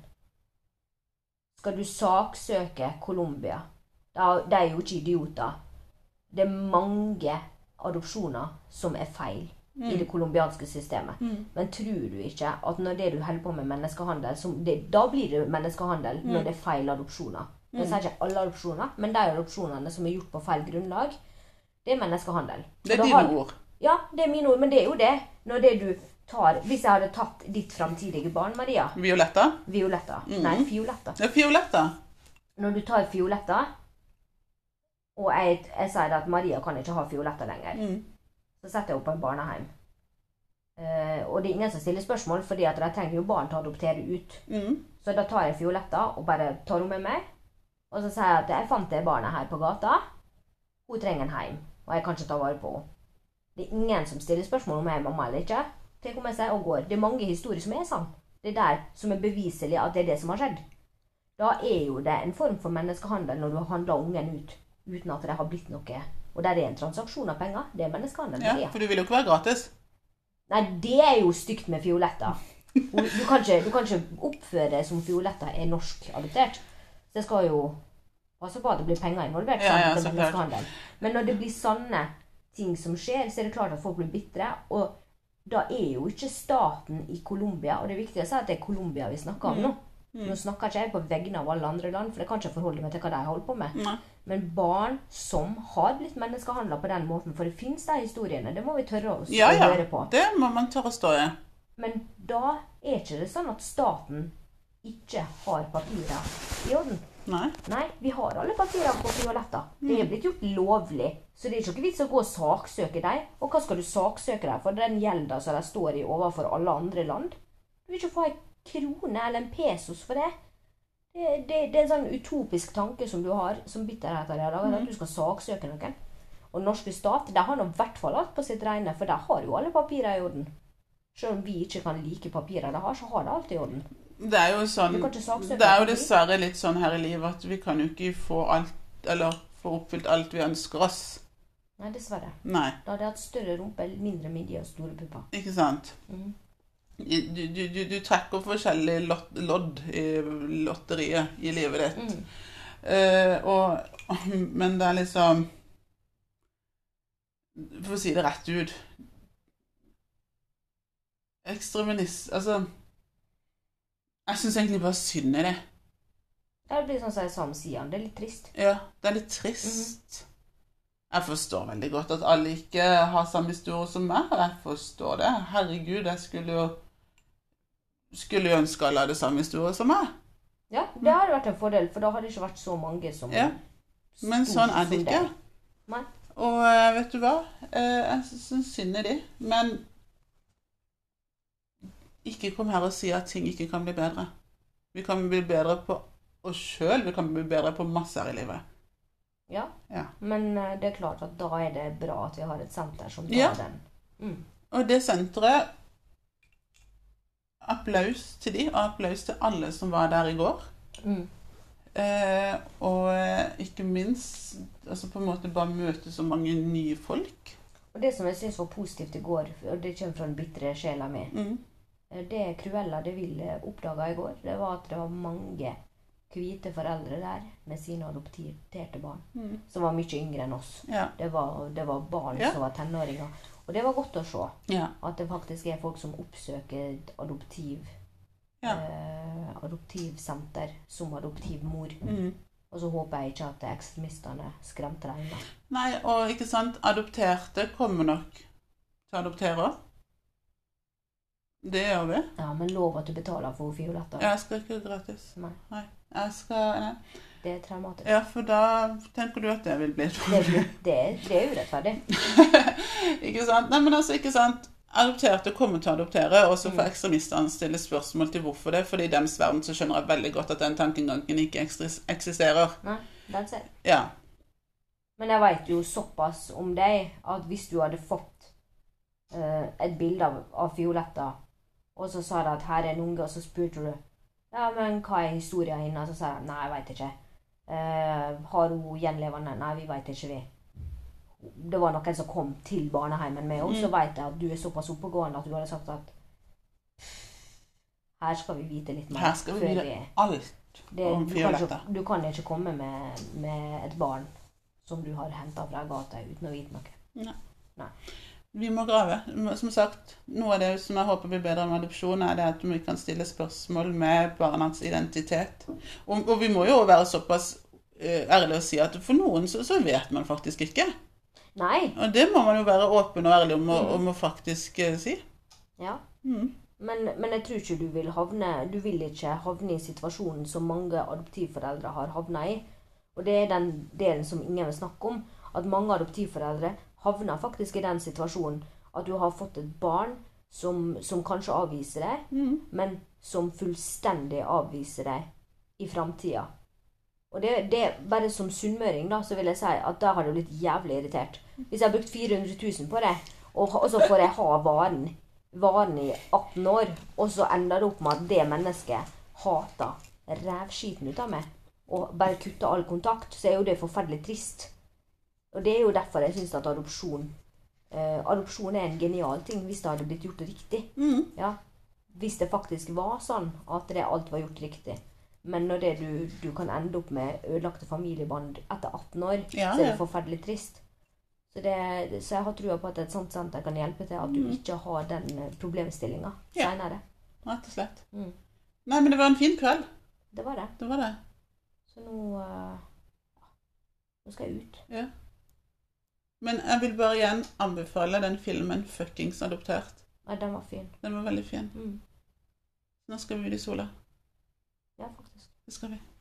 [SPEAKER 2] Skal du saksøke Colombia? Da- De er jo ikke idioter. Det er mange adopsjoner som er feil i det colombianske systemet.
[SPEAKER 1] Mm.
[SPEAKER 2] Men tror du ikke at når det du holder på med menneskehandel som det, Da blir det menneskehandel
[SPEAKER 1] Mm.
[SPEAKER 2] når det er feil adopsjoner. Nå sier jeg ikke alle adopsjoner, men de adopsjonene som er gjort på feil grunnlag, det er menneskehandel.
[SPEAKER 1] Det er
[SPEAKER 2] Da har-
[SPEAKER 1] dine ord.
[SPEAKER 2] ja, det er mine ord, men det er jo det. Når det du tar Hvis jeg hadde tatt ditt framtidige barn, Maria
[SPEAKER 1] Violetta?
[SPEAKER 2] Violetta. Nei, Fioletta.
[SPEAKER 1] Ja, Fioletta.
[SPEAKER 2] Når du tar Fioletta Og jeg, jeg sier at Maria kan ikke ha Fioletta lenger,
[SPEAKER 1] Mm.
[SPEAKER 2] så setter jeg henne på en barnehjem. Eh, og det er ingen som stiller spørsmål, fordi at de trenger jo barn til å adoptere ut.
[SPEAKER 1] Mm.
[SPEAKER 2] Så da tar jeg Fioletta og bare tar henne med meg. Og så sier jeg at jeg fant det barnet her på gata. Hun trenger en heim, og jeg kan ikke ta vare på henne. Det er ingen som stiller spørsmål om jeg er mamma eller ikke. Det kommer seg og går. Det er mange historier som er sann. Det er der som er beviselig at det er det som har skjedd. Da er jo det en form for menneskehandel når du har handla ungen ut uten at det har blitt noe. Og der er en transaksjon av penger. Det er menneskehandel.
[SPEAKER 1] Ja,
[SPEAKER 2] Maria.
[SPEAKER 1] for du vil jo ikke være gratis.
[SPEAKER 2] Nei, det er jo stygt med Fioletta. Hun- Du kan ikke, du kan ikke oppføre deg som Fioletta er norsk adoptert. Så jeg skal jo passe på at det blir penger involvert.
[SPEAKER 1] Ja, ja,
[SPEAKER 2] sant,
[SPEAKER 1] så
[SPEAKER 2] til
[SPEAKER 1] klart.
[SPEAKER 2] menneskehandel. Men når det blir sanne ting som skjer, så er det klart at folk blir bitre. Og da er jo ikke staten i Colombia Og det er viktig å si at det er Colombia vi snakker
[SPEAKER 1] Mm.
[SPEAKER 2] om nå. Nå snakker ikke jeg på vegne av alle andre land, for jeg kan ikke forholde meg til hva de holder på med.
[SPEAKER 1] Nei.
[SPEAKER 2] Men barn som har blitt menneskehandla på den måten, for det fins de historiene, det må vi tørre å,
[SPEAKER 1] Ja,
[SPEAKER 2] å
[SPEAKER 1] ja.
[SPEAKER 2] høre på.
[SPEAKER 1] Det må man tørre å stå i.
[SPEAKER 2] Men da er ikke det sånn at staten ikke har papirer i orden.
[SPEAKER 1] Nei.
[SPEAKER 2] Nei, vi har alle papirer på Fioletta. Det er blitt gjort lovlig. Så det er ikke noe vits å gå og saksøke dem. Og hva skal du saksøke dem for? Den gjelda som de står i overfor alle andre land? Du vil ikke få ei krone eller en pesos for det. Det, det, det er en sånn utopisk tanke som du har, som bitterheten din har laget, at du skal saksøke noen. Og norske stat de har nå i hvert fall alt på sitt regne, for de har jo alle papirer i orden. Selv om vi ikke kan like papirer de har, så har de alt i orden.
[SPEAKER 1] Det er jo sånn
[SPEAKER 2] Du kan ikke saksøke
[SPEAKER 1] Det er jo
[SPEAKER 2] fordi-
[SPEAKER 1] dessverre litt sånn her i livet at vi kan jo ikke få alt Eller få oppfylt alt vi ønsker oss.
[SPEAKER 2] Nei, dessverre.
[SPEAKER 1] Nei.
[SPEAKER 2] Da hadde jeg hatt større rumpe, mindre midje og store pupper.
[SPEAKER 1] Ikke sant?
[SPEAKER 2] Mhm.
[SPEAKER 1] Du, du, du, du trekker forskjellige lot, lodd i lotteriet i livet ditt.
[SPEAKER 2] Mm.
[SPEAKER 1] Eh, og, *laughs* men det er liksom For å si det rett ut Ekstremist Altså Jeg syns egentlig bare synd i det.
[SPEAKER 2] Det blir sånn som jeg sa om Sian. Det er litt trist.
[SPEAKER 1] Ja, det er litt trist. Jeg forstår veldig godt at alle ikke har samme historie som meg. Jeg forstår det. Herregud, jeg skulle jo skulle jo ønske alle hadde samme historie som meg.
[SPEAKER 2] Ja, det hadde vært en fordel, for da hadde det ikke vært så mange som
[SPEAKER 1] Ja. Men sånn er det
[SPEAKER 2] som
[SPEAKER 1] ikke.
[SPEAKER 2] deg. Nei.
[SPEAKER 1] Og eh, vet du hva? Eh, Jeg syns synd i de, men ikke kom her og si at ting ikke kan bli bedre. Vi kan bli bedre på oss sjøl, vi kan bli bedre på masse her i livet.
[SPEAKER 2] Ja.
[SPEAKER 1] Ja.
[SPEAKER 2] Men eh, det er klart at da er det bra at vi har et senter som tar
[SPEAKER 1] Ja.
[SPEAKER 2] den. Mm.
[SPEAKER 1] Og det senteret Applaus til de, og applaus til alle som var der i går.
[SPEAKER 2] Mm.
[SPEAKER 1] Eh, og eh, ikke minst altså på en måte bare møte så mange nye folk.
[SPEAKER 2] Og det som jeg syns var positivt i går, og det kommer fra den bitre sjela mi
[SPEAKER 1] Mm.
[SPEAKER 2] eh, Det Cruella de Ville oppdaga i går, det var at det var mange hvite foreldre der med sine adopterte barn,
[SPEAKER 1] Mm.
[SPEAKER 2] som var mye yngre enn oss.
[SPEAKER 1] Ja.
[SPEAKER 2] Det var, det var barn
[SPEAKER 1] Ja.
[SPEAKER 2] som var tenåringer. Og det var godt å se.
[SPEAKER 1] ja.
[SPEAKER 2] At det faktisk er folk som oppsøker et adoptiv
[SPEAKER 1] Ja.
[SPEAKER 2] eh, adoptivsenter som adoptivmor.
[SPEAKER 1] Mm.
[SPEAKER 2] Og så håper jeg ikke at ekstremistene skremte deg unna.
[SPEAKER 1] Nei, og ikke sant, adopterte kommer nok til å adoptere. Det gjør vi.
[SPEAKER 2] Ja, men lov at du betaler for Fioletta.
[SPEAKER 1] Jeg skal ikke gratis.
[SPEAKER 2] Nei.
[SPEAKER 1] Jeg skal, nei.
[SPEAKER 2] Det er traumatisk.
[SPEAKER 1] Ja, for da tenker du at det vil bli et
[SPEAKER 2] Det, er- det, er- det er urettferdig.
[SPEAKER 1] *laughs* ikke sant? Nei, men altså, ikke sant. Adopterte kommer til å adoptere, og så
[SPEAKER 2] Mm.
[SPEAKER 1] får ekstremistene stille spørsmål til hvorfor det, for i deres verden så skjønner jeg veldig godt at den tankegangen ikke eksis- eksisterer.
[SPEAKER 2] Nei, that's it.
[SPEAKER 1] Ja.
[SPEAKER 2] Men jeg veit jo såpass om deg at hvis du hadde fått eh, et bilde av, av Fioletta, og så sa de at her er en unge, og så spurte du ja, men hva er historien hennes, og så sa jeg nei, jeg veit ikke. Eh, har hun gjenlevende? Nei, vi veit ikke, vi. Det var noen som kom til barneheimen med
[SPEAKER 1] Mm.
[SPEAKER 2] henne, så veit jeg at du er såpass oppegående at du hadde sagt at her skal vi vite litt mer.
[SPEAKER 1] Her skal vi
[SPEAKER 2] før
[SPEAKER 1] vite alt.
[SPEAKER 2] det,
[SPEAKER 1] om
[SPEAKER 2] du, kan ikke,
[SPEAKER 1] Fioletta.
[SPEAKER 2] du kan ikke komme med, med et barn som du har henta fra gata uten å vite noe.
[SPEAKER 1] Vi må grave. Som sagt, noe av det som jeg håper blir bedre med adopsjon, er det at vi kan stille spørsmål med barnas identitet. Og, og vi må jo være såpass eh, ærlige og si at for noen så, så vet man faktisk ikke.
[SPEAKER 2] Nei!
[SPEAKER 1] Og det må man jo være åpen og ærlig om, å- om å faktisk eh, si.
[SPEAKER 2] Ja.
[SPEAKER 1] Mm.
[SPEAKER 2] Men, men jeg tror ikke du vil havne Du vil ikke havne i situasjonen som mange adoptivforeldre har havna i. Og det er den delen som ingen vil snakke om. At mange adoptivforeldre havner faktisk i den situasjonen at du har fått et barn som, som kanskje avviser deg,
[SPEAKER 1] Mm.
[SPEAKER 2] men som fullstendig avviser deg i framtida. Og det, det bare som sunnmøring, da, så vil jeg si at da har jeg blitt jævlig irritert. Hvis jeg har brukt 400 000 på det, og, og så får jeg ha varen, varen i 18 år, og så ender det opp med at det mennesket hater rævskiten ut av meg, og bare kutter all kontakt, så er jo det forferdelig trist. Og det er jo derfor jeg syns at adopsjon eh, Adopsjon er en genial ting, hvis det hadde blitt gjort riktig.
[SPEAKER 1] Mm.
[SPEAKER 2] Ja, hvis det faktisk var sånn at det alt var gjort riktig. Men når det du, du kan ende opp med ødelagte familiebånd etter 18 år,
[SPEAKER 1] Ja,
[SPEAKER 2] så er
[SPEAKER 1] ja.
[SPEAKER 2] det forferdelig trist. Så, det, så jeg har trua på at et sånt senter kan hjelpe til at du ikke har den eh, problemstillinga
[SPEAKER 1] Mm. Ja.
[SPEAKER 2] seinere.
[SPEAKER 1] Rett og slett.
[SPEAKER 2] Mm.
[SPEAKER 1] Nei, men det var en fin kveld.
[SPEAKER 2] Det var det.
[SPEAKER 1] Det var det.
[SPEAKER 2] Så nå eh, Nå skal jeg ut.
[SPEAKER 1] Men jeg vil bare igjen anbefale den filmen 'Fuckings adoptert'.
[SPEAKER 2] Nei, den var fin.
[SPEAKER 1] Den var veldig fin.
[SPEAKER 2] Mm.
[SPEAKER 1] Nå skal vi ut i sola.
[SPEAKER 2] Ja, faktisk.
[SPEAKER 1] Det skal vi.